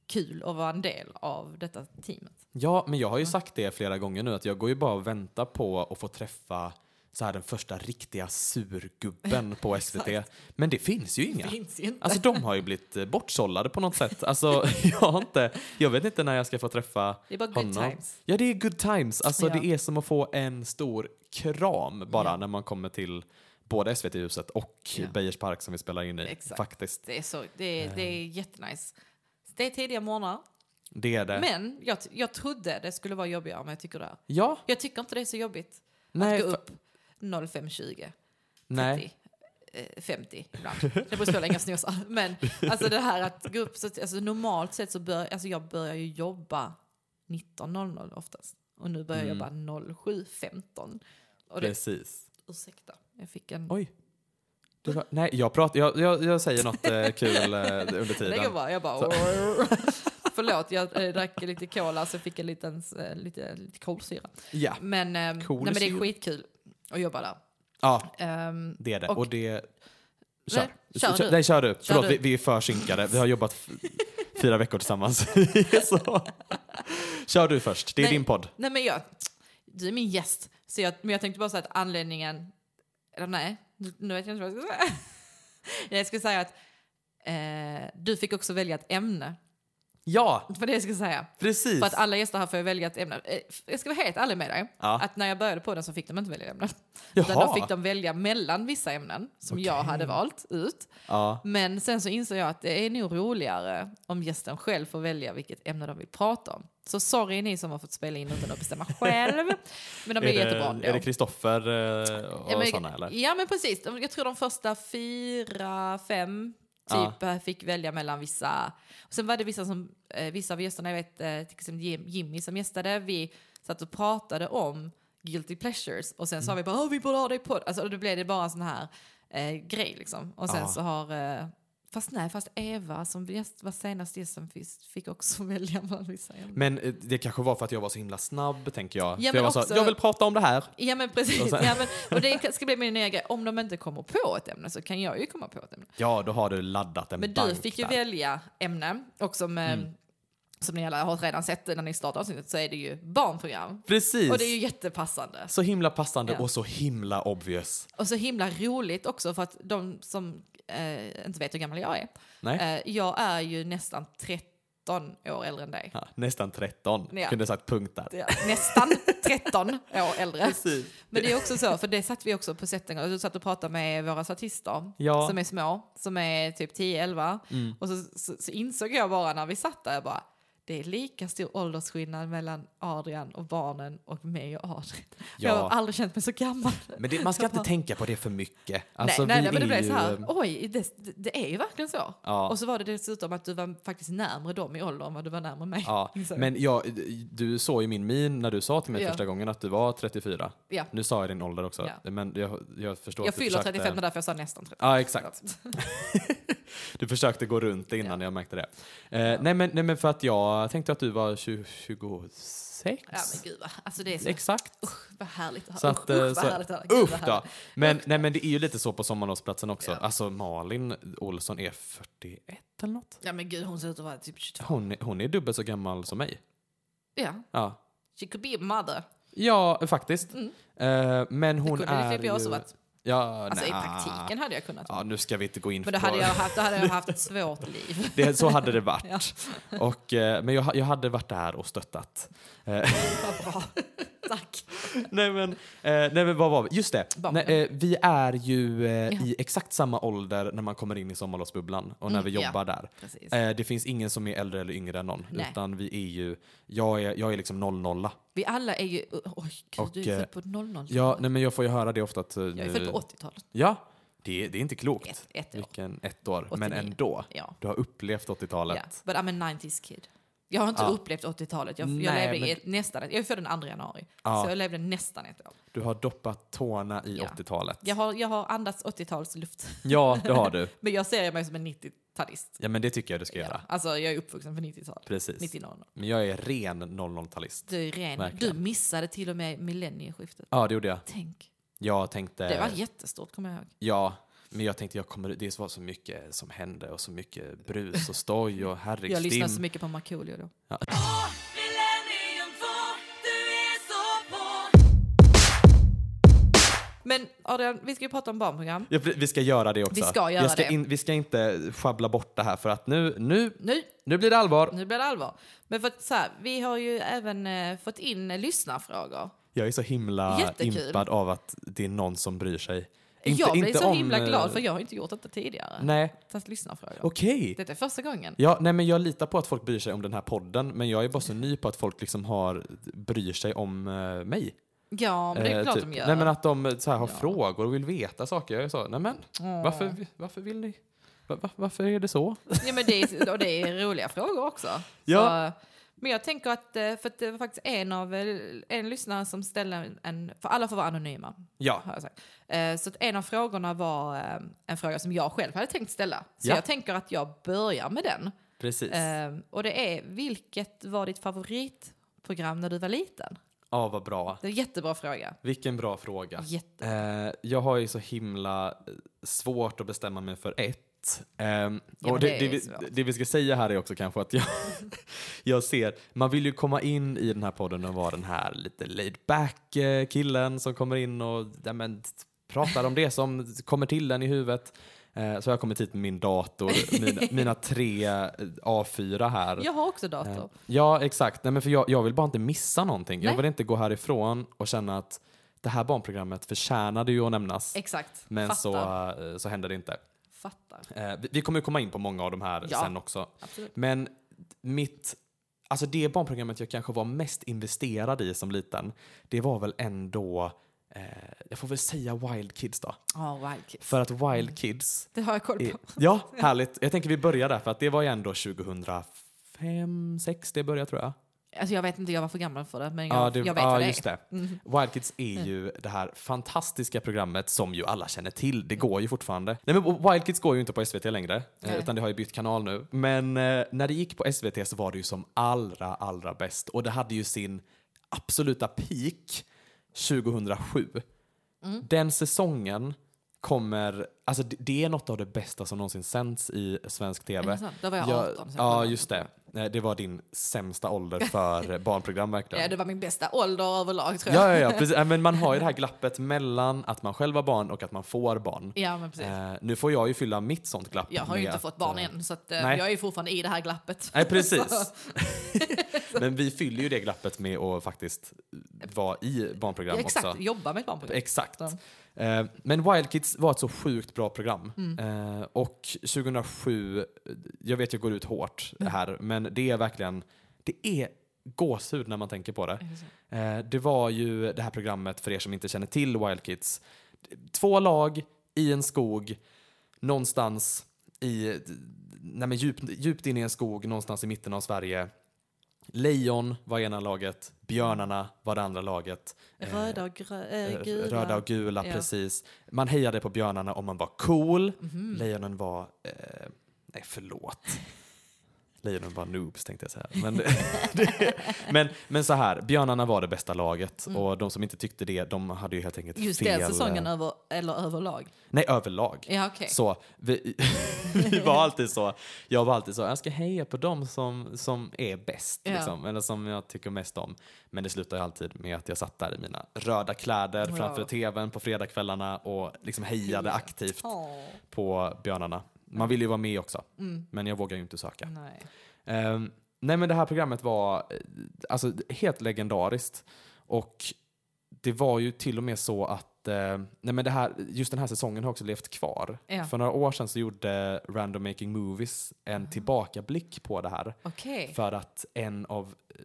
Speaker 1: kul att vara en del av detta teamet.
Speaker 2: Ja, men jag har ju sagt det flera gånger nu att jag går ju bara och väntar på att få träffa så här den första riktiga surgubben
Speaker 1: (laughs)
Speaker 2: på SVT. Men det finns ju inga.
Speaker 1: Finns ju inte.
Speaker 2: Alltså de har ju blivit eh, bortsållade på något sätt. Alltså (laughs) jag har inte, jag vet inte när jag ska få träffa
Speaker 1: Det är bara good
Speaker 2: honom.
Speaker 1: times.
Speaker 2: Ja, det är good times. Alltså
Speaker 1: Ja.
Speaker 2: det är som att få en stor kram bara
Speaker 1: Ja.
Speaker 2: när man kommer till både SVT-huset och
Speaker 1: Ja.
Speaker 2: Beijers park som vi spelar in i
Speaker 1: Exakt.
Speaker 2: faktiskt.
Speaker 1: Det är, så, det är, det
Speaker 2: Eh.
Speaker 1: är jättenice. Det är tidiga morgnar.
Speaker 2: Det är det.
Speaker 1: Men jag, t- jag trodde det skulle vara jobbigare men jag tycker det är.
Speaker 2: ja,
Speaker 1: Jag tycker inte det är så jobbigt
Speaker 2: nej,
Speaker 1: att gå
Speaker 2: fa-
Speaker 1: upp 05.20,
Speaker 2: nej.
Speaker 1: 30, 50 eh, ibland. Det beror på hur länge jag snusar. Men alltså det här att gå upp, så att, alltså normalt sett så börjar alltså jag börjar ju jobba 19.00 oftast. Och nu börjar jag jobba 07.15. Och det,
Speaker 2: Mm. Precis.
Speaker 1: ursäkta, jag fick en...
Speaker 2: Oj. Det var, nej, jag, pratar, jag, jag, jag säger något eh, kul eh,
Speaker 1: (laughs)
Speaker 2: under
Speaker 1: Det går
Speaker 2: tiden.
Speaker 1: bra, jag bara... (laughs) Förlåt, jag eh, drack lite cola så fick jag lite, eh, lite, lite kolsyra.
Speaker 2: Ja,
Speaker 1: Men, ehm,
Speaker 2: Cool
Speaker 1: nej, men det
Speaker 2: syra.
Speaker 1: är skitkul att jobba där.
Speaker 2: ja
Speaker 1: Ehm,
Speaker 2: det är det. Och,
Speaker 1: Och-
Speaker 2: det... Kör.
Speaker 1: Nej, kör du.
Speaker 2: Nej, kör du. Förlåt,
Speaker 1: du.
Speaker 2: Vi, vi är för synkade. Vi har jobbat f- fyra veckor tillsammans. (laughs) Så. Kör du först. Det är
Speaker 1: Nej.
Speaker 2: din podd.
Speaker 1: nej men jag, du är min gäst. Så jag, men jag tänkte bara säga att anledningen, eller nej, nu- nu vet jag inte vad jag ska säga. (laughs) Nej, jag skulle säga att eh, du fick också välja ett ämne.
Speaker 2: Ja,
Speaker 1: Det var det jag skulle säga.
Speaker 2: precis.
Speaker 1: För att alla gäster här får ju välja ett ämne. Eh, Jag ska vara helt ärlig med dig.
Speaker 2: Ja.
Speaker 1: Att när jag började på den så fick de inte välja ämnen. Utan
Speaker 2: Jaha.
Speaker 1: då fick de välja mellan vissa ämnen som jag hade valt ut.
Speaker 2: ja.
Speaker 1: Men sen så insåg jag att det är nog roligare om gästen själv får välja vilket ämne de vill prata om. Så sorry ni som har fått spela in utan att bestämma
Speaker 2: (laughs)
Speaker 1: själv. Men de
Speaker 2: Är
Speaker 1: blir jättebra
Speaker 2: det, är det
Speaker 1: ändå.
Speaker 2: Kristoffer eh, och
Speaker 1: Ja, men-
Speaker 2: sådana eller?
Speaker 1: Ja men precis, De- jag tror de första fyra, fem typ eh, fick välja mellan vissa. Och sen var det vissa, som, eh, vissa av gästerna, jag vet eh, till exempel Jim- Jimmy som gästade, vi satt och pratade om guilty pleasures och sen sa vi
Speaker 2: Mm.
Speaker 1: bara "Åh, vi borde ha dig på alltså, och då blev det bara en sån här eh, grej liksom. Och sen
Speaker 2: Ja.
Speaker 1: så har, eh, fast nej, fast Eva som gäst, var senast gästen fick, fick också (laughs) välja mellan vissa ämnen.
Speaker 2: Men eh, det kanske var för att jag var så himla snabb, tänker jag.
Speaker 1: Ja,
Speaker 2: för jag
Speaker 1: men
Speaker 2: var så,
Speaker 1: också-
Speaker 2: jag vill prata om det här.
Speaker 1: Ja men precis,
Speaker 2: Och
Speaker 1: och,
Speaker 2: sen-
Speaker 1: ja, men, och det ska bli min nya grej. Om de inte kommer på ett ämne så kan jag ju komma på ett ämne.
Speaker 2: Ja, då har du laddat en
Speaker 1: Men du
Speaker 2: bank
Speaker 1: fick ju
Speaker 2: där. Mm. välja
Speaker 1: välja ämne och som, eh, som ni alla har redan sett när ni startade avsnittet så är det ju barnprogram.
Speaker 2: Precis.
Speaker 1: Och det är ju jättepassande.
Speaker 2: Så himla passande
Speaker 1: Ja.
Speaker 2: och så himla obvious.
Speaker 1: Och så himla roligt också för att de som eh, inte vet hur gammal jag är.
Speaker 2: Nej.
Speaker 1: Eh, jag är ju nästan 13 år äldre än dig.
Speaker 2: Ja, nästan 13.
Speaker 1: Ja.
Speaker 2: Kunde sagt punkt där.
Speaker 1: Ja, Nästan 13 år
Speaker 2: (laughs)
Speaker 1: äldre.
Speaker 2: Precis.
Speaker 1: Men det är också så, för det satt vi också på set en gång. Du satt och pratade med våra statister
Speaker 2: Ja. Mm.
Speaker 1: som är små, som är typ 10-11. Och så, så, så insåg jag bara när vi satt där, jag bara, det är lika stor åldersskillnad mellan Adrian och barnen och mig och Adrian.
Speaker 2: Ja.
Speaker 1: Jag har aldrig känt mig så gammal.
Speaker 2: Men det, man ska inte tänka på det för mycket. Alltså,
Speaker 1: nej, nej,
Speaker 2: vi
Speaker 1: nej, men det
Speaker 2: är
Speaker 1: blev
Speaker 2: ju-
Speaker 1: så här, oj, det, det- det är ju verkligen så.
Speaker 2: Ja.
Speaker 1: Och så var det dessutom att du var faktiskt närmare dem i ålder än vad du var närmare mig.
Speaker 2: Ja,
Speaker 1: insåg jag.
Speaker 2: men jag, du såg ju min min när du sa till mig
Speaker 1: Ja.
Speaker 2: första gången att du var 34.
Speaker 1: Ja.
Speaker 2: Nu sa jag din ålder också,
Speaker 1: Ja.
Speaker 2: men jag, jag förstår
Speaker 1: jag
Speaker 2: att du
Speaker 1: fyller
Speaker 2: försökte-
Speaker 1: 35 och därför jag sa nästan 35.
Speaker 2: Ja, exakt. Du försökte gå runt det innan jag märkte det. Eh, nej, men, nej, men för att jag tänkte att du var 20, 26.
Speaker 1: Ja men gud vad- alltså det är så
Speaker 2: Exakt.
Speaker 1: Vad härligt att
Speaker 2: Så
Speaker 1: höra.
Speaker 2: att,
Speaker 1: Usch,
Speaker 2: eh,
Speaker 1: usch, vad
Speaker 2: så-
Speaker 1: härligt att höra. Gud, vad
Speaker 2: Usch då!
Speaker 1: härligt.
Speaker 2: Men, nej, men det är ju lite så på sommarlovsplatsen också.
Speaker 1: Ja.
Speaker 2: Alltså Malin Olsson är 41 eller något.
Speaker 1: Ja men gud, hon ser ut att vara typ 22.
Speaker 2: Hon, är- hon är dubbelt så gammal som mig.
Speaker 1: Ja,
Speaker 2: Ja,
Speaker 1: she could be a mother.
Speaker 2: ja faktiskt. Eh, men hon
Speaker 1: Mm. det kunde
Speaker 2: är
Speaker 1: typ jag också
Speaker 2: ju...
Speaker 1: varit.
Speaker 2: Ja,
Speaker 1: Alltså i
Speaker 2: nja.
Speaker 1: praktiken hade jag kunnat.
Speaker 2: Ja, nu ska vi inte gå in
Speaker 1: Men då
Speaker 2: på...
Speaker 1: hade jag haft, då hade jag haft ett svårt liv.
Speaker 2: (laughs) Det, så hade det varit.
Speaker 1: (laughs) Ja.
Speaker 2: Och, eh, men jag, ha- jag hade varit där och stöttat.
Speaker 1: Vad bra. (laughs) Tack.
Speaker 2: (laughs) nej, men, eh, nej men vad var vi? Just det,
Speaker 1: Barnen.
Speaker 2: nej, eh, vi är ju eh,
Speaker 1: Ja.
Speaker 2: i exakt samma ålder när man kommer in i sommarlovsbubblan och när
Speaker 1: Mm,
Speaker 2: vi
Speaker 1: ja.
Speaker 2: jobbar där.
Speaker 1: Precis.
Speaker 2: Eh, det finns ingen som är äldre eller yngre än någon.
Speaker 1: Nej.
Speaker 2: Utan vi är ju, jag är, jag är liksom 00.
Speaker 1: Vi alla är ju... Oj, gud,
Speaker 2: Och,
Speaker 1: du är
Speaker 2: eh,
Speaker 1: född på 00
Speaker 2: Ja, nej, men jag får ju höra det ofta att... eh,
Speaker 1: Jag
Speaker 2: nu-
Speaker 1: är född på 80-talet.
Speaker 2: Ja, det, det är inte klokt.
Speaker 1: Ett, ett år.
Speaker 2: Vilken ett år. Men
Speaker 1: 89.
Speaker 2: ändå.
Speaker 1: Ja.
Speaker 2: Du har upplevt 80-talet.
Speaker 1: ja. But I'm a 90s kid. Jag har inte
Speaker 2: Ja.
Speaker 1: upplevt 80-talet. Jag, jag
Speaker 2: Nej,
Speaker 1: levde
Speaker 2: men-
Speaker 1: i ett, nästan ett, Jag är född den 2 januari.
Speaker 2: Ja.
Speaker 1: Så jag levde nästan ett år.
Speaker 2: Du har doppat tårna i
Speaker 1: Ja.
Speaker 2: 80-talet.
Speaker 1: Jag har, jag har andats 80-talsluft.
Speaker 2: Ja, det har du.
Speaker 1: (laughs) Men jag ser mig som en 90-talist.
Speaker 2: Ja, men det tycker jag du ska göra.
Speaker 1: Alltså jag är uppvuxen på 90-tal.
Speaker 2: Precis.
Speaker 1: 90-tal.
Speaker 2: Men jag är ren 00-talist.
Speaker 1: Du är ren.
Speaker 2: Verkligen.
Speaker 1: Du missade till och med millennieskiftet.
Speaker 2: Ja, det gjorde jag.
Speaker 1: Tänk.
Speaker 2: Jag tänkte...
Speaker 1: Det var jättestort kommer jag ihåg.
Speaker 2: Ja, men jag tänkte jag kommer, det var så mycket som hände och så mycket brus och stoj och
Speaker 1: (laughs) Jag lyssnade så
Speaker 2: herrigstim.
Speaker 1: mycket på Markoolio då. Men Adrian, vi ska ju prata om barnprogram.
Speaker 2: Ja, vi vi ska göra det också.
Speaker 1: Vi ska göra
Speaker 2: jag ska
Speaker 1: det.
Speaker 2: In, vi ska inte schabbla bort det här för att nu, nu,
Speaker 1: Nu,
Speaker 2: nu blir det allvar.
Speaker 1: nu blir det allvar. Men för att, så här, vi har ju även eh, fått in eh, lyssnarfrågor.
Speaker 2: Jag är så himla
Speaker 1: Jättekul.
Speaker 2: impad av att det är någon som bryr sig. Inte-
Speaker 1: jag blir
Speaker 2: inte
Speaker 1: så
Speaker 2: om,
Speaker 1: himla glad
Speaker 2: eh,
Speaker 1: för jag har inte gjort detta tidigare.
Speaker 2: Nej,
Speaker 1: Fast lyssnarfrågor.
Speaker 2: okej.
Speaker 1: Detta är första gången.
Speaker 2: Ja, nej men jag litar på att folk bryr sig om den här podden, men jag är bara så ny på att folk liksom har, bryr sig om eh, mig.
Speaker 1: Ja, men det är
Speaker 2: Eh,
Speaker 1: klart
Speaker 2: typ.
Speaker 1: de gör.
Speaker 2: Nej men att de eh, så här, har
Speaker 1: Ja.
Speaker 2: frågor och vill veta saker. Jag är så, nej men
Speaker 1: Åh.
Speaker 2: varför, varför vill ni? Va- va- varför är det så?
Speaker 1: Ja, men det, är, och det är roliga frågor också.
Speaker 2: (laughs) Ja.
Speaker 1: Så, men jag tänker att, eh, för att det var faktiskt en av eh, en lyssnare som ställde en, för alla får vara anonyma,
Speaker 2: Ja,
Speaker 1: har jag sagt. Eh, Så att en av frågorna var eh, en fråga som jag själv hade tänkt ställa. Så
Speaker 2: Ja.
Speaker 1: jag tänker att jag börjar med den.
Speaker 2: precis.
Speaker 1: Eh, Och det är, vilket var ditt favoritprogram när du var liten?
Speaker 2: Ja, vad bra.
Speaker 1: Det är en jättebra fråga.
Speaker 2: Vilken bra fråga.
Speaker 1: Jätte-
Speaker 2: Eh, jag har ju så himla eh, svårt att bestämma mig för ett. Ehm,
Speaker 1: Ja,
Speaker 2: och
Speaker 1: det
Speaker 2: det,
Speaker 1: är
Speaker 2: det, vi,
Speaker 1: svårt.
Speaker 2: det vi ska säga här är också kanske att jag, (laughs) jag ser, man vill ju komma in i den här podden och vara den här lite laid back eh, killen som kommer in och ja, men, t- pratar om det som kommer till den i huvudet. Eh, så har jag kommit hit med min dator, mina, mina tre eh, A4 här.
Speaker 1: Jag har också dator.
Speaker 2: Eh, Ja, exakt. Nej, men för jag, jag vill bara inte missa någonting. Jag
Speaker 1: Nej.
Speaker 2: vill inte gå härifrån och känna att det här barnprogrammet förtjänade ju att nämnas.
Speaker 1: Exakt.
Speaker 2: men
Speaker 1: Fattar.
Speaker 2: så, eh, så hände det inte.
Speaker 1: Fattar.
Speaker 2: Eh, vi- Vi kommer ju komma in på många av de här
Speaker 1: Ja.
Speaker 2: sen också.
Speaker 1: Absolut.
Speaker 2: Men mitt, alltså det barnprogrammet jag kanske var mest investerad i som liten, det var väl ändå, eh, jag får väl säga Wild Kids då.
Speaker 1: Ja, Wild Kids.
Speaker 2: För att Wild Kids,
Speaker 1: Det har jag koll
Speaker 2: är,
Speaker 1: Mm. på. (laughs)
Speaker 2: ja härligt, jag tänker vi börjar där för att det var ju ändå 2005, 6 det började tror jag.
Speaker 1: Alltså jag vet inte, jag var för gammal för det, men jag,
Speaker 2: Ja, det,
Speaker 1: jag vet
Speaker 2: ja,
Speaker 1: vad det
Speaker 2: just
Speaker 1: är. Mm.
Speaker 2: det. Wild Kids är ju det här fantastiska programmet som ju alla känner till. Det går ju fortfarande. Nej, men Wild Kids går ju inte på SVT längre, eh,
Speaker 1: Nej.
Speaker 2: utan det har ju bytt kanal nu. Men eh, när det gick på SVT så var det ju som allra, allra bäst. Och det hade ju sin absoluta peak 2007.
Speaker 1: Mm.
Speaker 2: Den säsongen kommer, alltså det, det är något av det bästa som någonsin sänds i svensk
Speaker 1: Är det
Speaker 2: TV.
Speaker 1: sant? Då var jag 18. så jag
Speaker 2: ja,
Speaker 1: kollade.
Speaker 2: just det. Nej, Det var din sämsta ålder
Speaker 1: (laughs)
Speaker 2: för barnprogram verkligen.
Speaker 1: Ja, det var min bästa ålder överlag tror jag.
Speaker 2: Ja, ja, ja precis. Äh, Men man har ju det här glappet mellan att man själv var barn och att man får barn.
Speaker 1: (laughs) Ja, men precis.
Speaker 2: Eh, nu får jag ju fylla mitt sånt glapp.
Speaker 1: Jag har ju
Speaker 2: med
Speaker 1: inte
Speaker 2: att,
Speaker 1: fått barn
Speaker 2: eh,
Speaker 1: än, så att, eh,
Speaker 2: nej.
Speaker 1: jag är ju fortfarande i det här glappet.
Speaker 2: Nej, precis.
Speaker 1: (laughs) Så,
Speaker 2: (laughs) Men vi fyller ju det glappet med att faktiskt vara i barnprogram
Speaker 1: ja, exakt,
Speaker 2: också.
Speaker 1: jobba med ett barnprogram.
Speaker 2: Exakt. Eh, men Wild Kids var ett så sjukt bra program.
Speaker 1: Mm.
Speaker 2: Eh, och 2007, jag vet jag går ut hårt
Speaker 1: Mm.
Speaker 2: här, men det är verkligen, det är gåshud när man tänker på det. Eh, Det var ju det här programmet, för er som inte känner till Wild Kids. Två lag i en skog, någonstans i, nej men djupt, djupt inne i en skog, någonstans i mitten av Sverige. Lejon var ena laget, björnarna var det andra laget. Eh,
Speaker 1: Röda och grö,
Speaker 2: eh,
Speaker 1: eh, gula.
Speaker 2: Röda och gula,
Speaker 1: Ja.
Speaker 2: precis. Man hejade på björnarna om man var cool.
Speaker 1: Mhm. Mm.
Speaker 2: Lejonen var... Eh, nej,
Speaker 1: (laughs)
Speaker 2: förlåt. Lejonen var noobs tänkte jag säga. Men, (laughs) det, men, men så här, björnarna var det bästa laget och de som inte tyckte det, de hade ju helt enkelt
Speaker 1: Mm. Just
Speaker 2: fel.
Speaker 1: den säsongen
Speaker 2: eh,
Speaker 1: över, eller överlag.
Speaker 2: Nej, överlag.
Speaker 1: Ja, okej.
Speaker 2: Så vi, (laughs) vi var alltid så, jag var alltid så, jag ska heja på dem som, som är bäst,
Speaker 1: Ja.
Speaker 2: liksom, eller som jag tycker mest om. Men det slutade ju alltid med att jag satt där i mina röda kläder
Speaker 1: Ja.
Speaker 2: framför tvn på fredagskvällarna och liksom hejade
Speaker 1: Hejade.
Speaker 2: aktivt
Speaker 1: Åh,
Speaker 2: på björnarna. Man vill ju vara med också, men jag vågar ju inte söka.
Speaker 1: Mm. nej.
Speaker 2: Ehm, nej men det här programmet var eh, alltså, helt legendariskt och det var ju till och med så att eh, nej men det här, just den här säsongen har också levt kvar.
Speaker 1: Ja.
Speaker 2: För några år sedan så gjorde Random Making Movies en tillbakablick på det här.
Speaker 1: Mm. Okej.
Speaker 2: För att en av eh,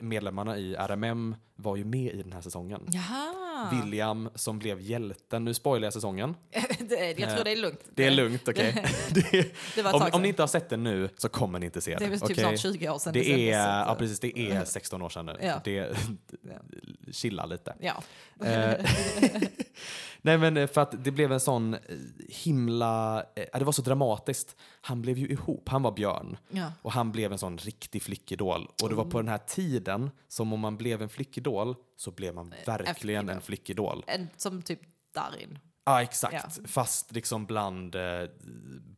Speaker 2: medlemmarna i RMM var ju med i den här säsongen.
Speaker 1: Jaha.
Speaker 2: William som blev hjälten. Nu spoilar jag säsongen.
Speaker 1: (laughs) Det är- jag tror det är lugnt.
Speaker 2: Eh, Det är lugnt, okej.
Speaker 1: (laughs)
Speaker 2: Det-
Speaker 1: Det var ett tag
Speaker 2: om, om ni
Speaker 1: sedan.
Speaker 2: inte har sett den nu så kommer ni inte se
Speaker 1: Det är
Speaker 2: den.
Speaker 1: väl typ
Speaker 2: okej?
Speaker 1: snart 20 år sedan.
Speaker 2: Det
Speaker 1: sändes,
Speaker 2: är,
Speaker 1: så att- eh,
Speaker 2: ja, precis, det är 16 år sedan nu.
Speaker 1: (laughs) Ja.
Speaker 2: Det, chilla lite.
Speaker 1: Ja.
Speaker 2: Eh, Nej men eh, för att det blev en sån eh, himla, eh, ja, det var så dramatiskt. Han blev ju ihop, han var Björn.
Speaker 1: (laughs) ja.
Speaker 2: Och han blev en sån riktig flickidol. Och det var
Speaker 1: Mm.
Speaker 2: på den här tiden som om man blev en flickidol så blev man
Speaker 1: Eh,
Speaker 2: verkligen en flickidol.
Speaker 1: En, som typ Darin.
Speaker 2: Ja exakt, fast liksom bland, eh,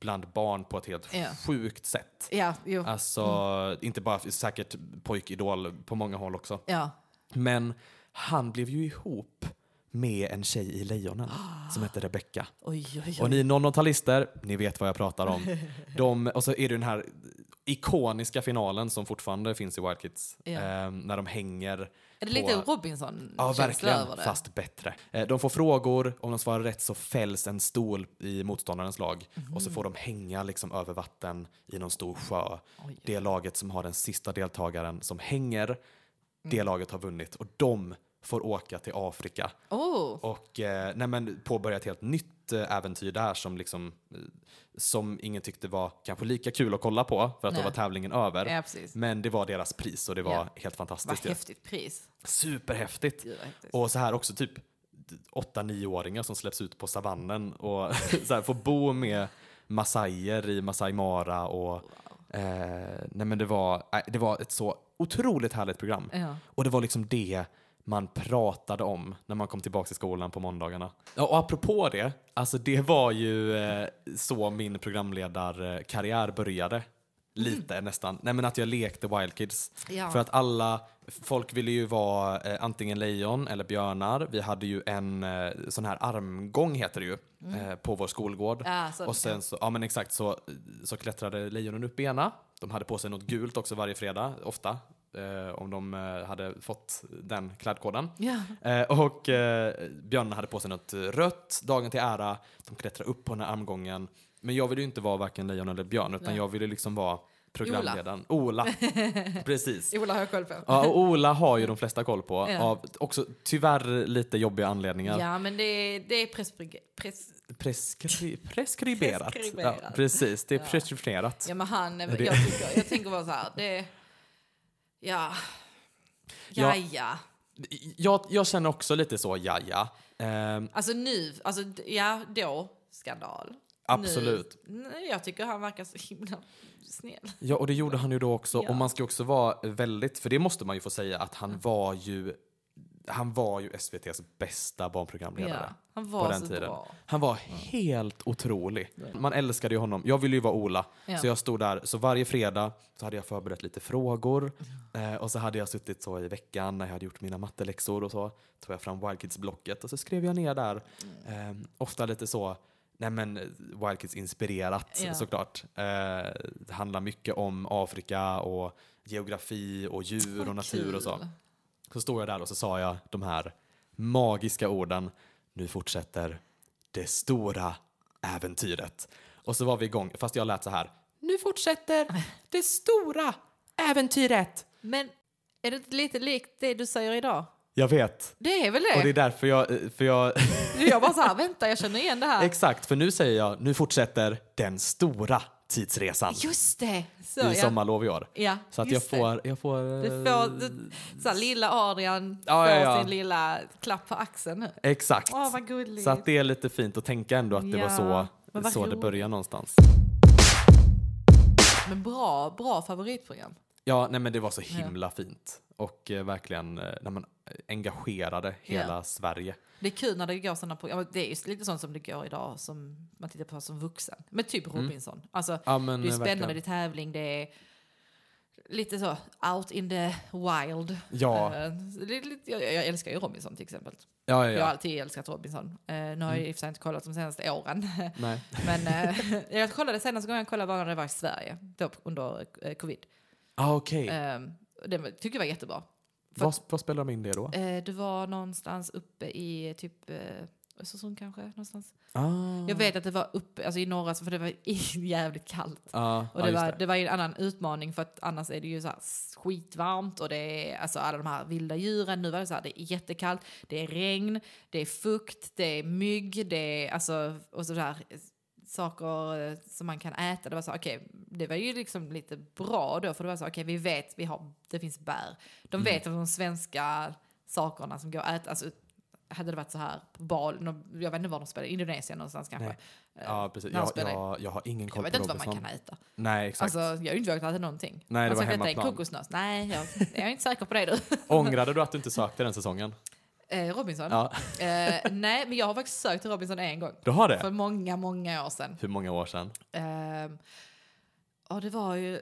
Speaker 2: bland barn på ett helt
Speaker 1: Ja.
Speaker 2: sjukt sätt.
Speaker 1: Ja, jo.
Speaker 2: Alltså inte bara säkert pojkidol på många håll också.
Speaker 1: Ja.
Speaker 2: Men han blev ju ihop med en tjej i Lejonen som
Speaker 1: (gasps)
Speaker 2: hette Rebecca.
Speaker 1: Oj, oj, oj.
Speaker 2: Och ni 00-talister, ni vet vad jag pratar om.
Speaker 1: (laughs)
Speaker 2: De, och så är det den här ikoniska finalen som fortfarande finns i Wild Kids.
Speaker 1: Ja.
Speaker 2: Eh, när de hänger.
Speaker 1: är det lite
Speaker 2: på-
Speaker 1: Robinson
Speaker 2: Ja,
Speaker 1: känsla
Speaker 2: verkligen.
Speaker 1: över det?
Speaker 2: Fast bättre. Eh, De får frågor, om de svarar rätt så fälls en stol i motståndarens lag
Speaker 1: Mhm.
Speaker 2: och så får de hänga liksom över vatten i någon stor sjö.
Speaker 1: Oj.
Speaker 2: Det laget som har den sista deltagaren som hänger,
Speaker 1: Mm.
Speaker 2: det laget har vunnit och de får åka till Afrika
Speaker 1: Oh,
Speaker 2: och eh, nej, men påbörja ett helt nytt eh, äventyr där som, liksom, eh, som ingen tyckte var kanske lika kul att kolla på för att
Speaker 1: Nej.
Speaker 2: då var tävlingen över.
Speaker 1: ja precis.
Speaker 2: Men det var deras pris och det var
Speaker 1: Ja.
Speaker 2: helt
Speaker 1: Vad
Speaker 2: fantastiskt. ju.
Speaker 1: häftigt pris.
Speaker 2: Superhäftigt.
Speaker 1: Gud, vad häftigt.
Speaker 2: Och så här också typ 8-9-åringar som släpps ut på savannen och (laughs) så här får bo med massajer i Masai Mara och eh, nej men det var, nej, det var ett så otroligt härligt program.
Speaker 1: Ja.
Speaker 2: Och det var liksom det man pratade om när man kom tillbaka till skolan på måndagarna. Ja, Och apropå det, alltså det var ju eh, så min programledarkarriär började. Lite nästan. Nej men att jag lekte Wild Kids.
Speaker 1: Ja.
Speaker 2: För att alla, folk ville ju vara eh, antingen lejon eller björnar. Vi hade ju en eh, sån här armgång heter det ju eh, på vår skolgård.
Speaker 1: Mm. Ja, så-
Speaker 2: och sen så, ja men exakt så, så klättrade lejonen upp i ena. De hade på sig något gult också varje fredag, ofta. Eh, om de eh, hade fått den klädkoden.
Speaker 1: Ja.
Speaker 2: Eh, och eh, björnarna hade på sig något rött, dagen till ära. De klättrade upp på den här armgången. Men jag ville ju inte vara varken lejon eller björn utan
Speaker 1: Nej.
Speaker 2: jag ville liksom vara programledaren.
Speaker 1: (laughs)
Speaker 2: Ola. Precis.
Speaker 1: Ola har jag koll på.
Speaker 2: Ja, och Ola har ju de flesta koll på.
Speaker 1: Ja.
Speaker 2: Av också tyvärr lite jobbiga anledningar.
Speaker 1: Ja, men det, är- det är preskri- pres...
Speaker 2: Preskri-
Speaker 1: (laughs)
Speaker 2: preskriberat.
Speaker 1: Preskriberat.
Speaker 2: Ja, precis, det är
Speaker 1: Ja.
Speaker 2: preskriberat.
Speaker 1: Ja, men han... Jag,
Speaker 2: Det-
Speaker 1: tycker, jag tänker bara så här, det... Ja. Ja,
Speaker 2: Ja.
Speaker 1: ja.
Speaker 2: Jag, jag känner också lite så, ja ja. Ehm,
Speaker 1: Alltså nu, alltså d- ja, då, skandal.
Speaker 2: absolut.
Speaker 1: Nu, nej, jag tycker han verkar så himla snäll.
Speaker 2: Ja, och det gjorde han ju då också.
Speaker 1: Ja.
Speaker 2: Och man ska också vara väldigt, för det måste man ju få säga, att han var ju, han var ju SVTs bästa barnprogramledare.
Speaker 1: Ja, han
Speaker 2: på
Speaker 1: var
Speaker 2: den
Speaker 1: så
Speaker 2: tiden.
Speaker 1: bra.
Speaker 2: Han var helt otrolig. Man älskade ju honom. Jag ville ju vara Ola.
Speaker 1: Mm. Ja.
Speaker 2: Så jag stod där. Så varje fredag så hade jag förberett lite frågor. Eh, och så hade jag suttit så i veckan när jag hade gjort mina matteläxor och så. Tog jag fram Wild Kids-blocket och så skrev jag ner där.
Speaker 1: Mm.
Speaker 2: Eh, ofta lite så, nej men eh, Wild Kids-inspirerat
Speaker 1: Ja.
Speaker 2: såklart. Eh, det handlar mycket om Afrika och geografi och djur och
Speaker 1: Vad
Speaker 2: natur och så.
Speaker 1: kul.
Speaker 2: Så stod jag där och så sa jag de här magiska orden. Nu fortsätter det stora äventyret. Och så var vi igång, fast jag lät så här. Nu fortsätter det stora äventyret.
Speaker 1: Men är det inte lite likt det du säger idag?
Speaker 2: Jag vet.
Speaker 1: Det är väl
Speaker 2: Och det
Speaker 1: det?
Speaker 2: är därför jag... eh, För jag (laughs)
Speaker 1: Jag bara så här, vänta, jag känner igen det här.
Speaker 2: exakt, för nu säger jag nu fortsätter den stora tidsresan
Speaker 1: Just det! Så,
Speaker 2: i sommarlov i år.
Speaker 1: Ja,
Speaker 2: Så att jag
Speaker 1: just det.
Speaker 2: får... Jag får eh,
Speaker 1: Du får, du, så här, lilla Adrian
Speaker 2: Ja,
Speaker 1: får
Speaker 2: ja, ja.
Speaker 1: sin lilla klapp på axeln nu.
Speaker 2: Exakt.
Speaker 1: Åh, vad gulligt.
Speaker 2: Så att det är lite fint att tänka ändå att
Speaker 1: Ja,
Speaker 2: det var
Speaker 1: men
Speaker 2: så,
Speaker 1: vad
Speaker 2: så det
Speaker 1: roligt.
Speaker 2: började någonstans.
Speaker 1: Men bra, bra favoritprogram.
Speaker 2: Ja, nej men det var så himla fint. Och eh, verkligen eh, när man engagerade hela Sverige.
Speaker 1: Det är kul när det går sådana program. Det är ju lite sånt som det går idag som man tittar på som vuxen. Men typ Robinson. Alltså,
Speaker 2: Mm. Ja, men,
Speaker 1: det är
Speaker 2: eh,
Speaker 1: spännande,
Speaker 2: verkligen.
Speaker 1: det är tävling, det är lite så out in the wild.
Speaker 2: Ja.
Speaker 1: Eh, det är lite- jag, jag älskar ju Robinson till exempel.
Speaker 2: Ja, Mm. ja,
Speaker 1: Jag har
Speaker 2: ja.
Speaker 1: alltid älskat Robinson. Eh, nu har jag i och för sig inte kollat de senaste åren. (laughs)
Speaker 2: Nej.
Speaker 1: Men eh, (laughs) jag kollade senaste gången jag kollade var när det var i Sverige, då under eh, covid.
Speaker 2: Ah, okej.
Speaker 1: Eh, det var- tycker jag var jättebra. För-
Speaker 2: Vad, vad spelar de in det då?
Speaker 1: Eh, du var någonstans uppe i typ eh, Östersund kanske? Någonstans.
Speaker 2: Ah.
Speaker 1: Jag vet att det var uppe, alltså i norra, för det var (laughs) jävligt kallt.
Speaker 2: Ah,
Speaker 1: Och
Speaker 2: ja,
Speaker 1: det,
Speaker 2: just
Speaker 1: var, det var ju en annan utmaning för att annars är det ju så här skitvarmt och det är alltså alla de här vilda djuren. Nu var det så här, det är jättekallt, det är regn, det är fukt, det är mygg, det är alltså och så där eh, saker eh, som man kan äta. Det var så här, okej, det var ju liksom lite bra då för det var så här, okej, vi vet, vi har, det finns bär.
Speaker 2: Mm.
Speaker 1: De vet om de svenska sakerna som går att äta, alltså hade det varit så här på Bali, nå- jag vet inte var de spelade, Indonesien någonstans kanske.
Speaker 2: Nej,
Speaker 1: Eh,
Speaker 2: Ja, precis.
Speaker 1: när han
Speaker 2: Jag,
Speaker 1: spelar-
Speaker 2: jag, jag har ingen
Speaker 1: jag
Speaker 2: koll
Speaker 1: vet
Speaker 2: på
Speaker 1: inte vad man
Speaker 2: Robinson.
Speaker 1: kan äta.
Speaker 2: Nej, exakt.
Speaker 1: Alltså, (laughs) jag har ju inte vågat äta någonting.
Speaker 2: Nej, det
Speaker 1: alltså,
Speaker 2: var
Speaker 1: jag ska äta
Speaker 2: hemmaplan.
Speaker 1: en kokosnöt. Nej, jag, jag är inte säker på det du.
Speaker 2: (laughs) (laughs) Ångrade du att du inte sökte den säsongen?
Speaker 1: Eh, Robinson?
Speaker 2: Ja,
Speaker 1: Eh, nej, men jag har faktiskt sökt till Robinson en gång.
Speaker 2: du har
Speaker 1: För
Speaker 2: det?
Speaker 1: många, många år sedan.
Speaker 2: Hur många år sedan?
Speaker 1: Eh, ja, det var ju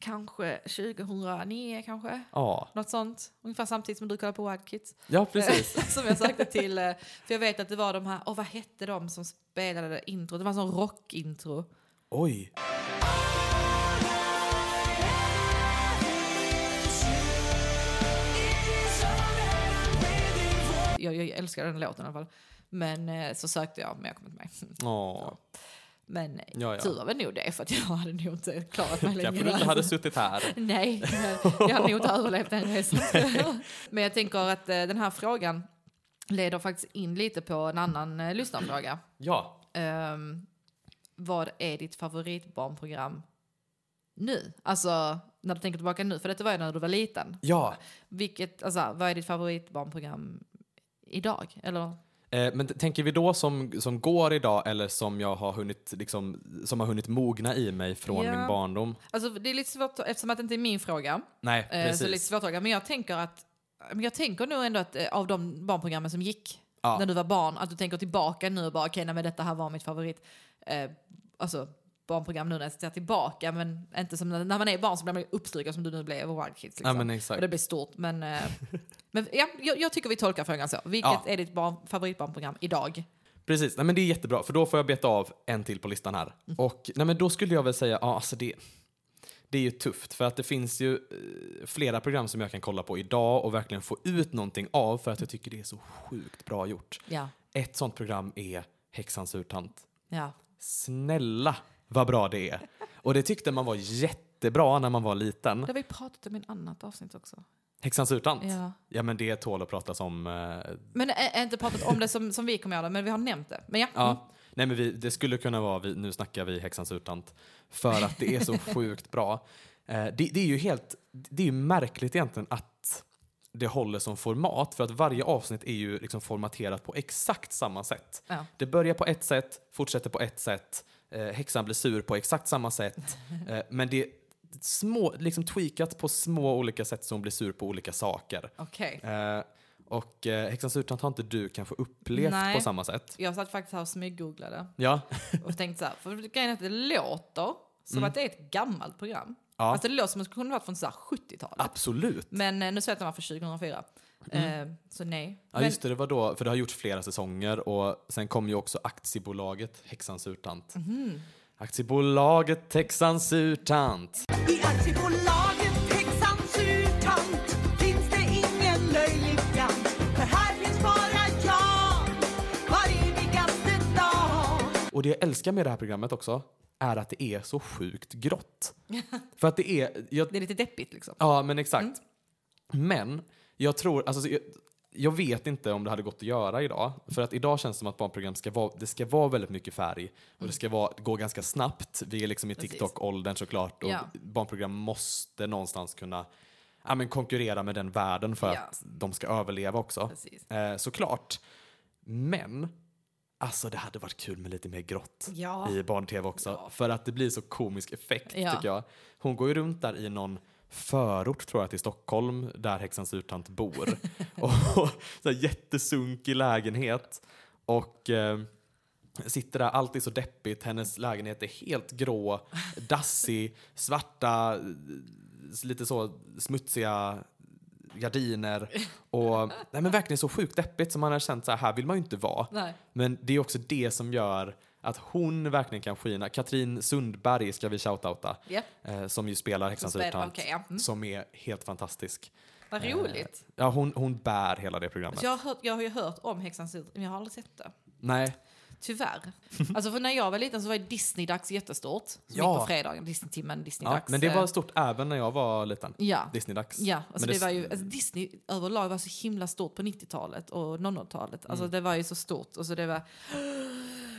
Speaker 1: kanske 2009 kanske.
Speaker 2: Ja,
Speaker 1: Något sånt. Ungefär samtidigt som du kollade på Wild Kids.
Speaker 2: ja
Speaker 1: (laughs)
Speaker 2: precis.
Speaker 1: som jag sökte till. eh, För jag vet att det var de här, åh vad hette de som spelade intro? Det var en sån rockintro.
Speaker 2: Oj.
Speaker 1: Jag, jag älskar den låten i alla fall. Men eh, så sökte jag, men jag kom inte med. (laughs)
Speaker 2: Åh,
Speaker 1: Men eh,
Speaker 2: ja,
Speaker 1: Tur
Speaker 2: ja.
Speaker 1: var väl nog det, för att jag hade nog inte klarat
Speaker 2: (laughs)
Speaker 1: mig
Speaker 2: Kanske
Speaker 1: längre.
Speaker 2: du inte hade suttit här.
Speaker 1: (laughs) Nej, jag hade nog inte överlevt den
Speaker 2: (laughs)
Speaker 1: resan. Men jag tänker att eh, den här frågan leder faktiskt in lite på en annan eh, lyssnarfråga.
Speaker 2: Ja,
Speaker 1: Ehm, vad är ditt favoritbarnprogram nu? Alltså, när du tänker tillbaka nu, för detta var ju när du var liten.
Speaker 2: ja.
Speaker 1: Vilket, alltså, vad är ditt favoritbarnprogram idag? Eller?
Speaker 2: Eh, Men t- tänker vi då som, som går idag eller som jag har hunnit, liksom, som har hunnit mogna i mig från
Speaker 1: Ja.
Speaker 2: min barndom?
Speaker 1: Alltså, det är lite svårt, eftersom att det inte är min fråga,
Speaker 2: Nej,
Speaker 1: Eh,
Speaker 2: precis.
Speaker 1: Så lite svårtolkat. Men jag tänker att men jag tänker nog ändå att eh, av de barnprogrammen som gick
Speaker 2: Ja.
Speaker 1: när du var barn, att du tänker tillbaka nu och bara okej, nej men detta här var mitt favorit. Eh, alltså barnprogram nu när jag ser tillbaka, men inte som när, när man är barn så blir man ju uppslukad som du nu blev av Wild Kids.
Speaker 2: Ja,
Speaker 1: Liksom.
Speaker 2: men
Speaker 1: och
Speaker 2: exakt.
Speaker 1: det blir stort, men,
Speaker 2: (laughs)
Speaker 1: eh, men ja, jag, jag tycker vi tolkar frågan så. Vilket
Speaker 2: Ja.
Speaker 1: är ditt barn, favoritbarnprogram idag?
Speaker 2: Precis, nej, men det är jättebra för då får jag beta av en till på listan här.
Speaker 1: Mm.
Speaker 2: Och nej, men då skulle jag väl säga, ja alltså det, det är ju tufft för att det finns ju eh, flera program som jag kan kolla på idag och verkligen få ut någonting av för att jag tycker det är så sjukt bra gjort.
Speaker 1: Ja,
Speaker 2: Ett sånt program är Häxans urtant.
Speaker 1: ja.
Speaker 2: Snälla vad bra det är! Och det tyckte man var jättebra när man var liten.
Speaker 1: Det har vi pratat om i ett annat avsnitt också.
Speaker 2: Häxans urtant? Ja.
Speaker 1: Ja.
Speaker 2: men det tål att pratas om. eh,
Speaker 1: Men äh, inte pratat om det som, som vi kommer göra, men vi har nämnt det. Men ja, mm,
Speaker 2: Ja. Nej men vi, det skulle kunna vara, vi, nu snackar vi Häxans urtant, för att det är
Speaker 1: (laughs)
Speaker 2: så sjukt bra. Eh, det, det är ju helt, det är ju märkligt egentligen att det håller som format för att varje avsnitt är ju liksom formaterat på exakt samma sätt.
Speaker 1: Ja.
Speaker 2: Det börjar på ett sätt, fortsätter på ett sätt, eh, häxan blir sur på exakt
Speaker 1: (laughs)
Speaker 2: samma sätt. Eh, men det är små, liksom tweakat på små olika sätt som blir sur på olika saker.
Speaker 1: okej.
Speaker 2: Eh, och eh, Häxans urtant har inte du kanske upplevt
Speaker 1: Nej.
Speaker 2: på samma sätt.
Speaker 1: Jag satt faktiskt här och smyggooglade
Speaker 2: Ja.
Speaker 1: och tänkte så här, för grejen är att det låter som att det är ett gammalt program.
Speaker 2: Mm. ja.
Speaker 1: Alltså det låter som att det kunde varit från så här 70-talet.
Speaker 2: Absolut.
Speaker 1: Men eh, nu sa jag att den var från 2004. Eh, så nej.
Speaker 2: Mm. Ja,
Speaker 1: Men-
Speaker 2: just det, det var då, för det har gjorts flera säsonger och sen kom ju också aktiebolaget Häxans Urtant. Aktiebolaget Häxans Urtant.
Speaker 3: I aktiebolaget Häxans Urtant finns det ingen löjlig kant. För här finns bara jag, var evigaste dag.
Speaker 2: Och det jag älskar med det här programmet också är att det är så sjukt grått. för att det är, jag,
Speaker 1: Det är lite deppigt liksom.
Speaker 2: Ja, men exakt. Men jag tror, alltså, så jag, jag vet inte om det hade gått att göra idag. För att idag känns det som att barnprogram ska vara, det ska vara väldigt mycket färg och det ska vara, gå ganska snabbt. Vi är liksom i
Speaker 1: Mm. Precis.
Speaker 2: TikTok-åldern såklart och
Speaker 1: Ja.
Speaker 2: barnprogram måste någonstans kunna ja, men konkurrera med den världen för
Speaker 1: Ja.
Speaker 2: att de ska överleva också.
Speaker 1: Precis.
Speaker 2: Eh, såklart. Men, alltså det hade varit kul med lite mer grått
Speaker 1: Ja.
Speaker 2: i eh, barn-tv också. För att det blir så komisk effekt
Speaker 1: Ja.
Speaker 2: tycker jag. Hon går ju runt där i någon förort tror jag till Stockholm där häxans
Speaker 1: (laughs)
Speaker 2: urtant bor. och så här jättesunkig lägenhet. Och eh, sitter där, allt är så deppigt. Hennes lägenhet är helt grå,
Speaker 1: (laughs)
Speaker 2: dassig, svarta, eh, lite så smutsiga gardiner.
Speaker 1: (laughs)
Speaker 2: Och, nej men verkligen så sjukt deppigt som man har känt så här, här vill man ju inte vara.
Speaker 1: Nej.
Speaker 2: Men det är också det som gör att hon verkligen kan skina. Katrin Sundberg ska vi shoutouta.
Speaker 1: Ja.
Speaker 2: Eh, som ju spelar Häxans
Speaker 1: spelar-
Speaker 2: urtant.
Speaker 1: okej, ja. Mm.
Speaker 2: Som är helt fantastisk. Eh,
Speaker 1: Vad roligt.
Speaker 2: Ja, hon, hon bär hela det programmet.
Speaker 1: Jag har, hört, jag har ju hört om Häxans ut, men jag har aldrig sett det.
Speaker 2: Nej, (laughs)
Speaker 1: Tyvärr. Alltså för när jag var liten så var ju Disney-dags jättestort. Som
Speaker 2: Ja.
Speaker 1: gick på fredagen, Disney-timmen,
Speaker 2: ja,
Speaker 1: Disney-dags.
Speaker 2: men det
Speaker 1: eh,
Speaker 2: var stort även när jag var liten.
Speaker 1: Ja,
Speaker 2: Disneydags.
Speaker 1: ja alltså
Speaker 2: Men
Speaker 1: det,
Speaker 2: det-
Speaker 1: var ju, alltså Disney överlag var så himla stort på 90-talet och 00-talet. Alltså
Speaker 2: Mm.
Speaker 1: det var ju så stort. Och så det var... (gasps)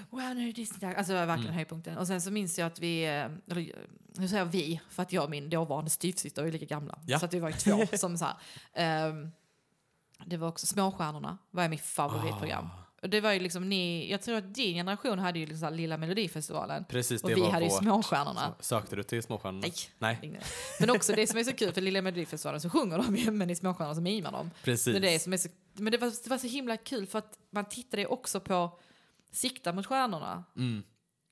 Speaker 1: Wow, nu är det Disney-dags. Alltså det var
Speaker 2: Mm.
Speaker 1: verkligen höjdpunkten. Och sen så minns jag att vi... eh, Eller, eh, nu säger jag vi, för att jag och min dåvarande styvsyster är lika gamla.
Speaker 2: Ja.
Speaker 1: Så att vi var ju
Speaker 2: (laughs)
Speaker 1: två som så här. ehm, det var också Småstjärnorna var ju mitt favoritprogram.
Speaker 2: Ah.
Speaker 1: Och det var ju liksom ni, jag tror att din generation hade ju liksom så här Lilla Melodifestivalen.
Speaker 2: Precis,
Speaker 1: och
Speaker 2: det
Speaker 1: vi
Speaker 2: var
Speaker 1: hade ju
Speaker 2: vårt-
Speaker 1: Småstjärnorna.
Speaker 2: Så- Sökte du till Småstjärnorna?
Speaker 1: Nej.
Speaker 2: Nej,
Speaker 1: Men också det som är så kul för Lilla Melodifestivalen så sjunger de ju men i Småstjärnorna så mimar de.
Speaker 2: precis.
Speaker 1: Men, det, är som är så, men det, var, det var så himla kul för att man tittade ju också på Sikta mot stjärnorna
Speaker 2: Mm,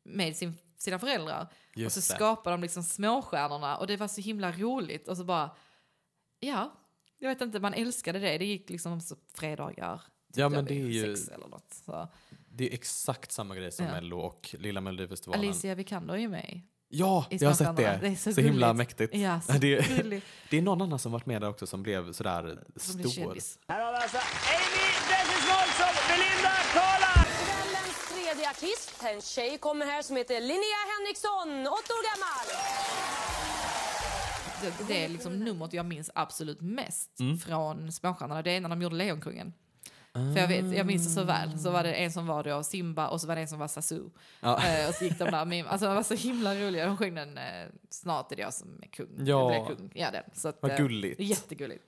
Speaker 1: med sin, sina föräldrar.
Speaker 2: just
Speaker 1: och så
Speaker 2: det.
Speaker 1: skapade de liksom småstjärnorna och det var så himla roligt. Och så bara, ja, jag vet inte, man älskade det. Det gick liksom så fredagar. tyckte
Speaker 2: Ja, men
Speaker 1: jag,
Speaker 2: det är
Speaker 1: vid
Speaker 2: ju-
Speaker 1: Sex eller något. Så.
Speaker 2: Det är exakt samma grej som
Speaker 1: Ja.
Speaker 2: Mello och Lilla Melodifestivalen.
Speaker 1: Alicia Vikander är ju med.
Speaker 2: Ja,
Speaker 1: i
Speaker 2: jag har sett
Speaker 1: Småstjärnorna.
Speaker 2: det.
Speaker 1: Det är så
Speaker 2: himla
Speaker 1: gulligt.
Speaker 2: mäktigt.
Speaker 1: Ja, så
Speaker 2: det, är,
Speaker 1: gulligt.
Speaker 2: (laughs) det är någon annan som varit med där också som blev sådär
Speaker 1: Som blir
Speaker 2: stor.
Speaker 1: kändis.
Speaker 4: Här har vi alltså Amy Dessus som Belinda Karlan.
Speaker 5: Kvällens tredje artist, en tjej, kommer här som heter Linnea Henriksson, åtta år gammal.
Speaker 1: det, det är liksom numret jag minns absolut mest
Speaker 2: Mm.
Speaker 1: från Småstjärnorna. Det är när de gjorde Lejonkungen.
Speaker 2: Ah.
Speaker 1: För jag, vet, jag minns det så väl. Så var det en som var då Simba och så var det en som var Sasu.
Speaker 2: Ja.
Speaker 1: Eh, och så gick de där med, Alltså de var så himla roliga. De sjöng den eh, Snart är det jag som är kung.
Speaker 2: Ja.
Speaker 1: Jag blir kung. ja den. Så att,
Speaker 2: Vad
Speaker 1: eh,
Speaker 2: gulligt.
Speaker 1: det är jättegulligt.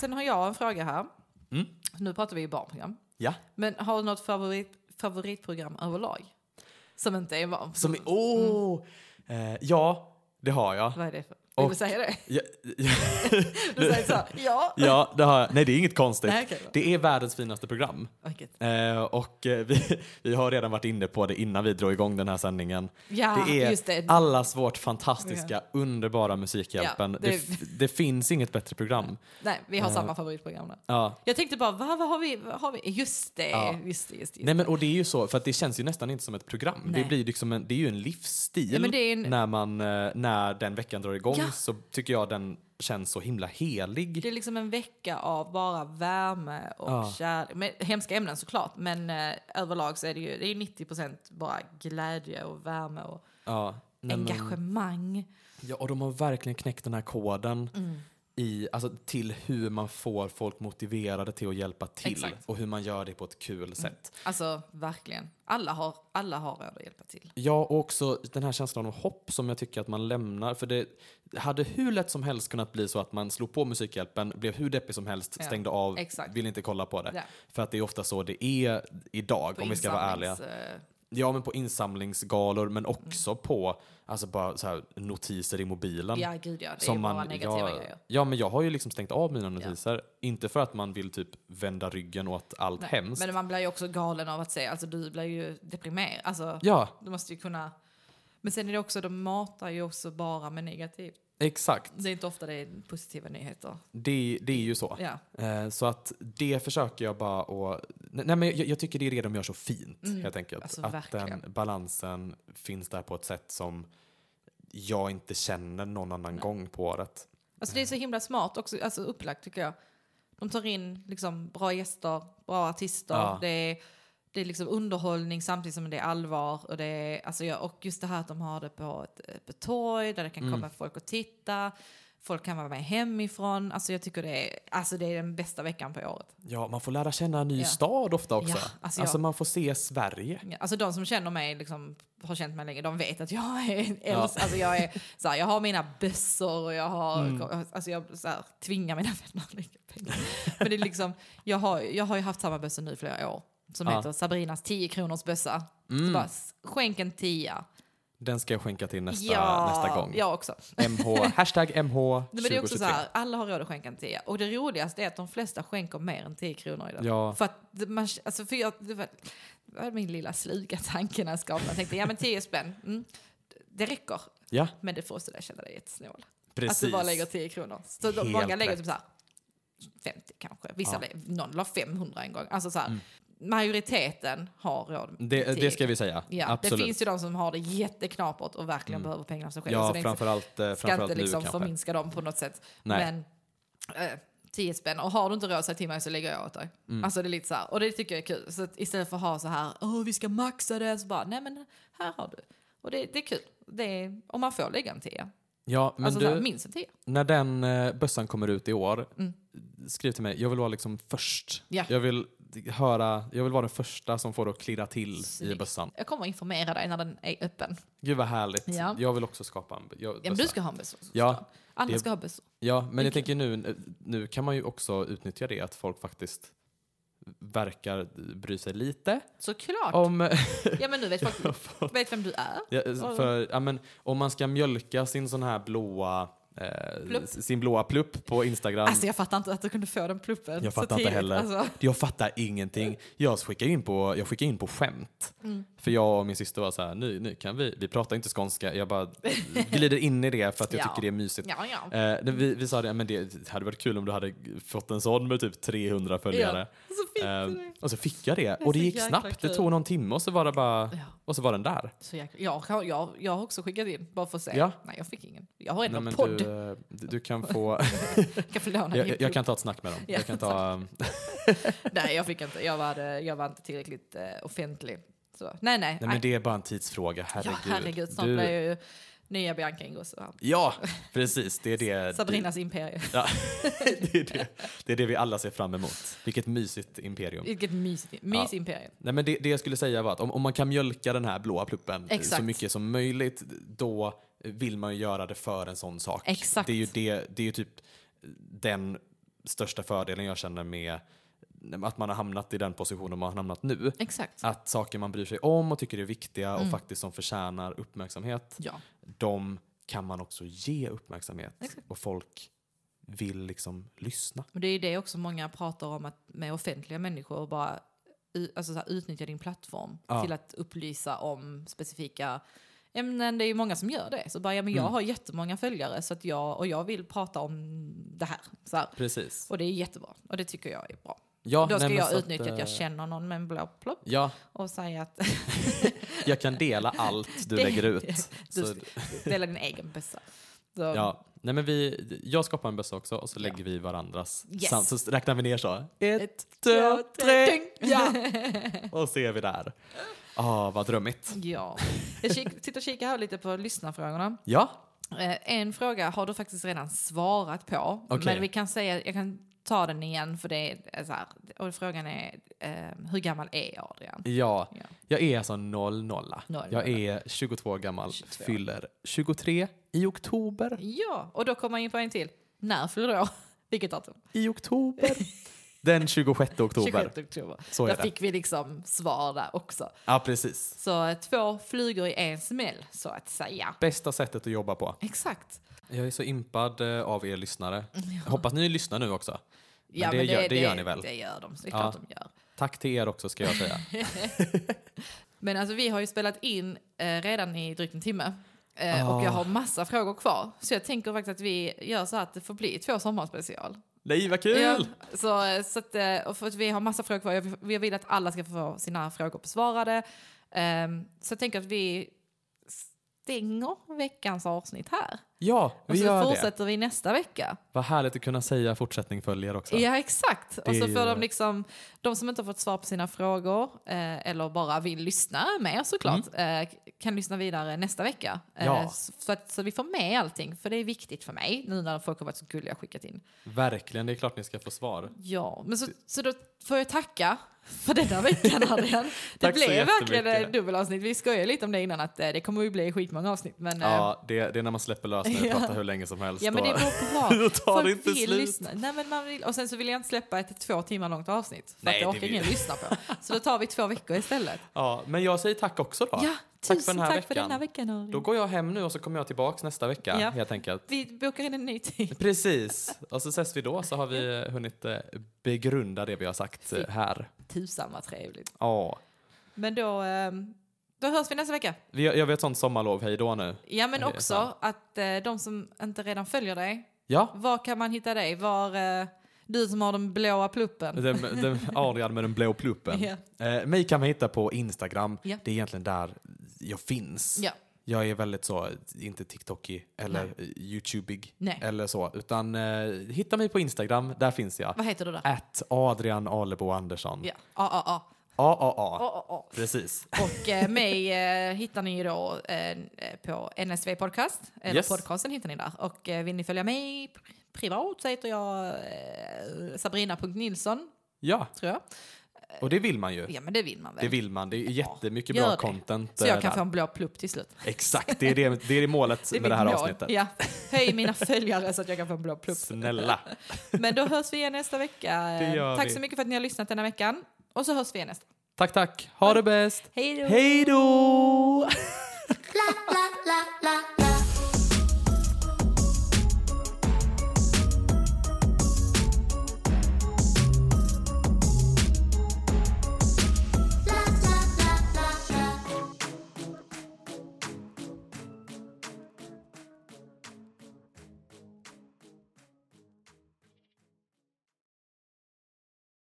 Speaker 1: Sen har jag en fråga här.
Speaker 2: Mm.
Speaker 1: Nu pratar vi ju barnprogram.
Speaker 2: Ja.
Speaker 1: Men har du något favorit, favoritprogram överlag? Som inte är barn?
Speaker 2: Som i, åh! Eh, ja, det har jag.
Speaker 1: Vad är det för? Vill du
Speaker 2: Och-
Speaker 1: säga
Speaker 2: (laughs)
Speaker 1: det?
Speaker 2: Ja,
Speaker 1: Du säger så, här, ja.
Speaker 2: ja, det har jag. Nej, det är inget konstigt.
Speaker 1: Nej, okej då.
Speaker 2: det är världens finaste program.
Speaker 1: Vilket?
Speaker 2: Eh, och eh, vi, (laughs) vi har redan varit inne på det innan vi drog igång den här sändningen.
Speaker 1: Ja,
Speaker 2: det är
Speaker 1: Ah, just det.
Speaker 2: allas vårt fantastiska, underbara Musikhjälpen.
Speaker 1: Ja,
Speaker 2: det...
Speaker 1: det-
Speaker 2: f- det finns inget bättre program.
Speaker 1: Nej, vi har
Speaker 2: Eh.
Speaker 1: samma favoritprogram där.
Speaker 2: Ja.
Speaker 1: Jag tänkte bara, va, vad har vi? Vad har vi? Just det,
Speaker 2: Ja.
Speaker 1: just det, just det.
Speaker 2: Nej, men, och det är ju så, för att det känns ju nästan inte som ett program. Det,
Speaker 1: Nej.
Speaker 2: blir liksom en, det är ju en livsstil.
Speaker 1: Ja, men det är en-
Speaker 2: När, man, eh, när den veckan drar igång
Speaker 1: Ja.
Speaker 2: så tycker jag den känns så himla helig.
Speaker 1: Det är liksom en vecka av bara värme och
Speaker 2: Ja.
Speaker 1: kärlek. Men, hemska ämnen såklart, men eh, överlag så är det ju det är ju 90% bara glädje och värme och
Speaker 2: Ja. Nej, men-
Speaker 1: engagemang.
Speaker 2: ja, och de har verkligen knäckt den här koden
Speaker 1: Mm.
Speaker 2: i, alltså, till hur man får folk motiverade till att hjälpa till
Speaker 1: Exakt.
Speaker 2: och hur man gör det på ett kul sätt.
Speaker 1: Alltså verkligen. Alla har, alla har råd att hjälpa till.
Speaker 2: Ja, och också den här känslan av hopp som jag tycker att man lämnar. För det hade hur lätt som helst kunnat bli så att man slog på Musikhjälpen, blev hur deppig som helst,
Speaker 1: Ja,
Speaker 2: stängde av,
Speaker 1: exakt.
Speaker 2: vill inte kolla på det.
Speaker 1: Ja.
Speaker 2: För att det är ofta så det är idag,
Speaker 1: På
Speaker 2: om vi ska vara ärliga.
Speaker 1: insamlings, Mm. eh,
Speaker 2: Ja, men på insamlingsgalor, men också på alltså bara så här, notiser i mobilen.
Speaker 1: Ja, gud ja. Det är bara negativa
Speaker 2: jag,
Speaker 1: grejer.
Speaker 2: Ja, men jag har ju liksom stängt av mina notiser. Inte för att man vill typ vända ryggen åt allt
Speaker 1: Nej,
Speaker 2: hemskt.
Speaker 1: Men man blir ju också galen av att se, alltså du blir ju deprimerad. Alltså,
Speaker 2: Ja,
Speaker 1: Du måste ju kunna... Men sen är det också, de matar ju också bara med negativt.
Speaker 2: exakt.
Speaker 1: Det är inte ofta det är positiva nyheter.
Speaker 2: Det, det är ju så.
Speaker 1: Ja.
Speaker 2: Eh, Så att det försöker jag bara att... Nej, men jag, jag tycker det är det de gör så fint, helt enkelt.
Speaker 1: alltså
Speaker 2: att
Speaker 1: verkligen.
Speaker 2: den balansen finns där på ett sätt som jag inte känner någon annan gång på året.
Speaker 1: Alltså det är så himla smart också, alltså upplagt tycker jag. De tar in liksom bra gäster, bra artister.
Speaker 2: Ja.
Speaker 1: Det, är, det är liksom underhållning samtidigt som det är allvar. Och, det är, alltså jag, och just det här att de har det på ett öppet torg där det kan komma folk och titta. Folk kan vara med hemifrån. Alltså jag tycker det är, alltså det är den bästa veckan på året.
Speaker 2: Ja, man får lära känna en ny
Speaker 1: Ja.
Speaker 2: stad ofta också.
Speaker 1: Ja,
Speaker 2: alltså
Speaker 1: alltså jag-
Speaker 2: man får se Sverige.
Speaker 1: Ja, Alltså de som känner mig, liksom, har känt mig länge, de vet att jag är en
Speaker 2: Ja.
Speaker 1: äldst. Alltså jag, är, så här, jag har mina bössor och jag har...
Speaker 2: Mm.
Speaker 1: Alltså jag så här, tvingar mina (laughs) vänner att lägga pengar. Men det är liksom, jag, har, jag har ju haft samma bössa nu i flera år. Som
Speaker 2: Ja. Mm.
Speaker 1: heter Sabrinas 10 kronors bössa. Så bara, s- skänk en tia.
Speaker 2: Den ska jag skänka till nästa,
Speaker 1: ja,
Speaker 2: nästa gång.
Speaker 1: Jag också. (laughs)
Speaker 2: MH, hashtag MH
Speaker 1: Nej, Men det är också så
Speaker 2: 2023.
Speaker 1: här, alla har råd att skänka en tia. Och det roligaste är att de flesta skänker mer än 10 kronor idag.
Speaker 2: Ja.
Speaker 1: För att det- man, alltså för jag, det var, det var min lilla sluga tanke när jag skapade. Jag tänkte, ja men 10 spänn, mm, det räcker.
Speaker 2: Ja,
Speaker 1: Men det får oss att känna dig jättesnål.
Speaker 2: precis.
Speaker 1: Att du Alltså, bara lägger 10 kronor. Så de,
Speaker 2: Helt
Speaker 1: många lägger
Speaker 2: rätt.
Speaker 1: typ så här 50 kanske. Vissa
Speaker 2: Ja. Mm.
Speaker 1: lägger, någon la 500 en gång. Alltså så här, majoriteten har råd med
Speaker 2: Det,
Speaker 1: tid.
Speaker 2: det ska vi säga.
Speaker 1: Ja,
Speaker 2: Absolut. Mm.
Speaker 1: det finns ju de som har det jätteknapert och verkligen behöver pengarna av sig själva. så
Speaker 2: ja,
Speaker 1: det är inte-
Speaker 2: framförallt, eh,
Speaker 1: ska
Speaker 2: framförallt
Speaker 1: inte
Speaker 2: nu
Speaker 1: liksom
Speaker 2: kanske.
Speaker 1: förminska dem på något sätt.
Speaker 2: Nej.
Speaker 1: Men eh, 10 spänn. Och har du inte råd så här till mig så lägger jag åt dig.
Speaker 2: Mm.
Speaker 1: Alltså det är lite så här. Och det tycker jag är kul. Så att istället för att ha så här, åh vi ska maxa det, så bara, nej men här har du. Och det, det är kul. Det är, om man får lägga en tia.
Speaker 2: Ja, men
Speaker 1: Alltså så här,
Speaker 2: du,
Speaker 1: minst en tia.
Speaker 2: när den eh, bössan kommer ut i år, skriv till mig. Jag vill vara liksom först.
Speaker 1: Mm. Ja.
Speaker 2: Jag vill höra, jag vill vara den första som får det att klirra till i
Speaker 1: Snyggt.
Speaker 2: bössan.
Speaker 1: Jag kommer informera dig när den är öppen.
Speaker 2: Gud vad härligt.
Speaker 1: Ja.
Speaker 2: Jag vill också skapa en jag,
Speaker 1: Ja, men du ska ha en buss.
Speaker 2: Ja,
Speaker 1: Alla
Speaker 2: det-
Speaker 1: ska ha buss.
Speaker 2: ja, men jag tänker nu, eh, nu kan man ju också utnyttja det att folk faktiskt verkar bry sig lite
Speaker 1: Såklart.
Speaker 2: om (laughs)
Speaker 1: Ja men nu vet folk vet vem du är.
Speaker 2: Ja, för, ja, men, om man ska mjölka sin sån här blåa eh,
Speaker 1: Plupp.
Speaker 2: sin blåa plupp på Instagram.
Speaker 1: Alltså jag fattar inte att du kunde få den pluppen
Speaker 2: jag
Speaker 1: så
Speaker 2: fattar inte
Speaker 1: tidigt.
Speaker 2: heller.
Speaker 1: Alltså,
Speaker 2: Jag fattar ingenting. Jag skickar in på, jag skickar in på skämt.
Speaker 1: Mm.
Speaker 2: För jag och min syster var så här, nu, nu kan vi, vi pratar inte skånska. Jag bara glider in i det för att
Speaker 1: (laughs)
Speaker 2: jag
Speaker 1: Ja.
Speaker 2: tycker det är mysigt.
Speaker 1: ja, ja.
Speaker 2: Eh, det- vi, vi sa det, men det hade varit kul om du hade fått en sån med typ 300 följare.
Speaker 1: Ja, så fick
Speaker 2: Eh,
Speaker 1: du det.
Speaker 2: och så fick jag det och det
Speaker 1: så
Speaker 2: gick
Speaker 1: jäkla
Speaker 2: snabbt. Det
Speaker 1: kul.
Speaker 2: tog någon timme och så var det bara,
Speaker 1: Ja.
Speaker 2: och så var den där.
Speaker 1: Så jag, jag, jag, jag, jag har också skickat in, bara för att se.
Speaker 2: Ja.
Speaker 1: Nej, jag fick ingen. Jag har ändå
Speaker 2: Nej, men
Speaker 1: podd.
Speaker 2: du, eh, du, du kan
Speaker 1: (laughs)
Speaker 2: få
Speaker 1: Jag kan få låna
Speaker 2: jag,
Speaker 1: din
Speaker 2: jag- jag kan
Speaker 1: plupp.
Speaker 2: ta ett snack med dem.
Speaker 1: Ja,
Speaker 2: jag kan ta, um,
Speaker 1: Nej, jag fick inte. Jag var, eh, jag var inte tillräckligt eh, offentlig. Så. Nej, nej.
Speaker 2: nej, men det är bara en tidsfråga,
Speaker 1: ja,
Speaker 2: herregud.
Speaker 1: herregud, snart
Speaker 2: Du-
Speaker 1: blir jag ju nya Bianca Ingrosso. här.
Speaker 2: Ja, precis. Det
Speaker 1: (laughs)
Speaker 2: är det,
Speaker 1: Sabrinas imperium.
Speaker 2: Ja, (laughs) det, är det, det är det vi alla ser fram emot. Vilket mysigt imperium.
Speaker 1: Vilket mysigt mys
Speaker 2: Ja.
Speaker 1: imperium.
Speaker 2: Nej, men det, det jag skulle säga var att om, om man kan mjölka den här blåa pluppen eh, så
Speaker 1: Exakt.
Speaker 2: mycket som möjligt, då vill man ju göra det för en sån sak.
Speaker 1: Exakt.
Speaker 2: Det är ju, det, det är ju typ den största fördelen jag känner med att man har hamnat i den positionen man har hamnat nu.
Speaker 1: Exakt.
Speaker 2: Att saker man bryr sig om och tycker är viktiga
Speaker 1: Mm.
Speaker 2: och faktiskt som förtjänar uppmärksamhet,
Speaker 1: Ja.
Speaker 2: de kan man också ge uppmärksamhet. Och folk vill liksom lyssna.
Speaker 1: Men det är ju det också många pratar om att med offentliga människor bara u- alltså så här, utnyttja din plattform
Speaker 2: Ja.
Speaker 1: till att upplysa om specifika ämnen. Det är ju många som gör det. Så bara, ja, men
Speaker 2: Mm.
Speaker 1: jag har jättemånga följare så att jag, och jag vill prata om det här. Så här.
Speaker 2: Precis.
Speaker 1: Och det är jättebra. Och det tycker jag är bra.
Speaker 2: Ja,
Speaker 1: Då ska
Speaker 2: nej, men
Speaker 1: jag
Speaker 2: så
Speaker 1: utnyttja att,
Speaker 2: eh,
Speaker 1: jag känner någon med en blå plopp
Speaker 2: Ja,
Speaker 1: och säga att
Speaker 2: jag kan dela allt
Speaker 1: (laughs)
Speaker 2: du
Speaker 1: Det-
Speaker 2: lägger ut.
Speaker 1: du
Speaker 2: Så,
Speaker 1: dela din egen bössa. Så,
Speaker 2: ja. Nej, men vi, jag skapar en bössa också och så lägger vi varandras.
Speaker 1: Yes.
Speaker 2: Sam- så räknar vi ner så. Ett,
Speaker 1: två,
Speaker 2: två,
Speaker 1: tre.
Speaker 2: tre. Ja. Och så är vi där. Ah, vad drömmigt.
Speaker 1: ja. Jag kik, sitter och kikar här lite på lyssnarfrågorna.
Speaker 2: Ja,
Speaker 1: Eh, en fråga har du faktiskt redan svarat på.
Speaker 2: Okej.
Speaker 1: Men vi kan säga, jag kan ta den igen för det är så här, och frågan är eh, hur gammal är Adrian?
Speaker 2: Ja,
Speaker 1: Ja.
Speaker 2: jag är alltså 00.
Speaker 1: Noll,
Speaker 2: Jag
Speaker 1: nolla.
Speaker 2: är 22 år gammal,
Speaker 1: 22.
Speaker 2: fyller 23 i oktober.
Speaker 1: Ja, och då kommer jag in på en till. När fyller du år? (laughs) Vilket datum?
Speaker 2: I oktober. Den 26 oktober.
Speaker 1: 26 oktober.
Speaker 2: Så är
Speaker 1: Där
Speaker 2: det.
Speaker 1: fick vi liksom svar där också.
Speaker 2: Ja, precis.
Speaker 1: Så eh, två flugor i en smäll, så att säga.
Speaker 2: Bästa sättet att jobba på.
Speaker 1: Exakt.
Speaker 2: Jag är så impad eh, av er lyssnare. Jag hoppas ni lyssnar nu också. Men det, gör, det, gör ni väl?
Speaker 1: Det gör de, så det är
Speaker 2: Ja.
Speaker 1: klart de gör.
Speaker 2: Tack till er också ska
Speaker 1: (laughs)
Speaker 2: jag säga.
Speaker 1: Men alltså vi har ju spelat in eh, redan i drygt en timme. Eh, Och jag har massa frågor kvar. Så jag tänker faktiskt att vi gör så här att det får bli två sommarspecial.
Speaker 2: Nej, vad kul!
Speaker 1: Ja, så, eh, så att, eh, och för att vi har massa frågor kvar. Jag vill- Jag vill att alla ska få sina frågor besvarade. Ehm, så jag tänker att vi stänger veckans avsnitt här.
Speaker 2: Ja,
Speaker 1: Och
Speaker 2: vi
Speaker 1: så
Speaker 2: gör det.
Speaker 1: fortsätter vi nästa vecka.
Speaker 2: Vad härligt att kunna säga fortsättning följer också.
Speaker 1: Ja, exakt. Och
Speaker 2: Det
Speaker 1: så
Speaker 2: är
Speaker 1: får
Speaker 2: ju-
Speaker 1: de liksom, de som inte har fått svar på sina frågor eh, eller bara vill lyssna mer såklart eh, kan lyssna vidare nästa vecka. Eh,
Speaker 2: Mm. Ja.
Speaker 1: s- så, att, så vi får med allting, för det är viktigt för mig nu när folk har varit så gulliga och skickat in.
Speaker 2: Verkligen, det är klart ni ska få svar.
Speaker 1: Ja, men så, så då får jag tacka för denna
Speaker 2: (laughs)
Speaker 1: veckan Adrian. Det
Speaker 2: Tack så
Speaker 1: blev verkligen
Speaker 2: jättemycket.
Speaker 1: ett dubbelavsnitt. Vi skojade lite om det innan att eh, det kommer ju bli skitmånga avsnitt. Men, eh,
Speaker 2: Ja, det, det är när man släpper lös när
Speaker 1: (laughs)
Speaker 2: vi
Speaker 1: Ja.
Speaker 2: pratar hur länge som helst.
Speaker 1: Ja men det
Speaker 2: då-
Speaker 1: beror på
Speaker 2: (laughs) Då tar det inte
Speaker 1: vill
Speaker 2: slut.
Speaker 1: lyssna. Nej, men man vill, och sen så vill jag inte släppa ett två timmar långt avsnitt. För
Speaker 2: Nej,
Speaker 1: att det
Speaker 2: det
Speaker 1: orkar
Speaker 2: vill-
Speaker 1: ingen lyssna på. Så då tar vi två veckor istället.
Speaker 2: Ja, men jag säger tack också då.
Speaker 1: Ja,
Speaker 2: tack
Speaker 1: tusen
Speaker 2: för den här
Speaker 1: tack
Speaker 2: veckan.
Speaker 1: för denna veckan. Ari.
Speaker 2: Då går jag hem nu och så kommer jag tillbaks nästa vecka
Speaker 1: Ja.
Speaker 2: helt enkelt.
Speaker 1: Vi bokar in en ny
Speaker 2: (laughs)
Speaker 1: tid.
Speaker 2: Precis, och så ses vi då så har vi eh, hunnit eh, begrunda det vi har sagt eh, här.
Speaker 1: Tusan vad trevligt.
Speaker 2: Ja,
Speaker 1: Men då, ehm, då hörs vi nästa vecka.
Speaker 2: vi gör, gör vi ett sånt sommarlov hej då nu?
Speaker 1: Ja men
Speaker 2: Det är
Speaker 1: också
Speaker 2: sant.
Speaker 1: att eh, de som inte redan följer dig,
Speaker 2: Ja,
Speaker 1: var kan man hitta dig? Var, eh, Du som har den blåa pluppen.
Speaker 2: Den,
Speaker 1: (laughs)
Speaker 2: den, Arian med den blå pluppen.
Speaker 1: Ja.
Speaker 2: Eh, mig kan man hitta på Instagram.
Speaker 1: Ja.
Speaker 2: Det är egentligen där jag finns.
Speaker 1: Ja.
Speaker 2: Jag är väldigt så, inte TikTokig eller YouTubig
Speaker 1: Nej.
Speaker 2: eller så, utan eh, hitta mig på Instagram, där finns jag.
Speaker 1: Vad heter du där?
Speaker 2: Att Adrian Alebo Andersson.
Speaker 1: Ja, ja, ja. ja.
Speaker 2: AAA.
Speaker 1: Ja, ja, ja.
Speaker 2: Precis.
Speaker 1: Och eh, mig eh, hittar ni ju då eh, på NSV Podcast. Eller
Speaker 2: Yes.
Speaker 1: podcasten hittar ni där. Och eh, vill ni följa mig pri- privat så heter jag eh, Sabrina.Nilsson,
Speaker 2: Ja,
Speaker 1: tror jag.
Speaker 2: och det vill man ju.
Speaker 1: Ja, men det vill man väl?
Speaker 2: Det vill man. Det är jättemycket
Speaker 1: Gör
Speaker 2: bra
Speaker 1: det.
Speaker 2: content.
Speaker 1: Så jag
Speaker 2: eh,
Speaker 1: kan
Speaker 2: där.
Speaker 1: få en blå plupp till slut.
Speaker 2: Exakt, det är det, det, är det målet
Speaker 1: är
Speaker 2: med det
Speaker 1: mitt
Speaker 2: här
Speaker 1: mål.
Speaker 2: avsnittet.
Speaker 1: Ja.
Speaker 2: (laughs)
Speaker 1: Höj mina följare så att jag kan få en blå plupp.
Speaker 2: Snälla.
Speaker 1: Men då hörs vi igen nästa vecka.
Speaker 2: Det gör
Speaker 1: Tack
Speaker 2: vi.
Speaker 1: så mycket för att ni har lyssnat denna veckan. Och så hörs vi igen nästa.
Speaker 2: Tack, tack. Ha det bäst.
Speaker 1: Hej då! (laughs)
Speaker 2: Hej då!
Speaker 6: la la la la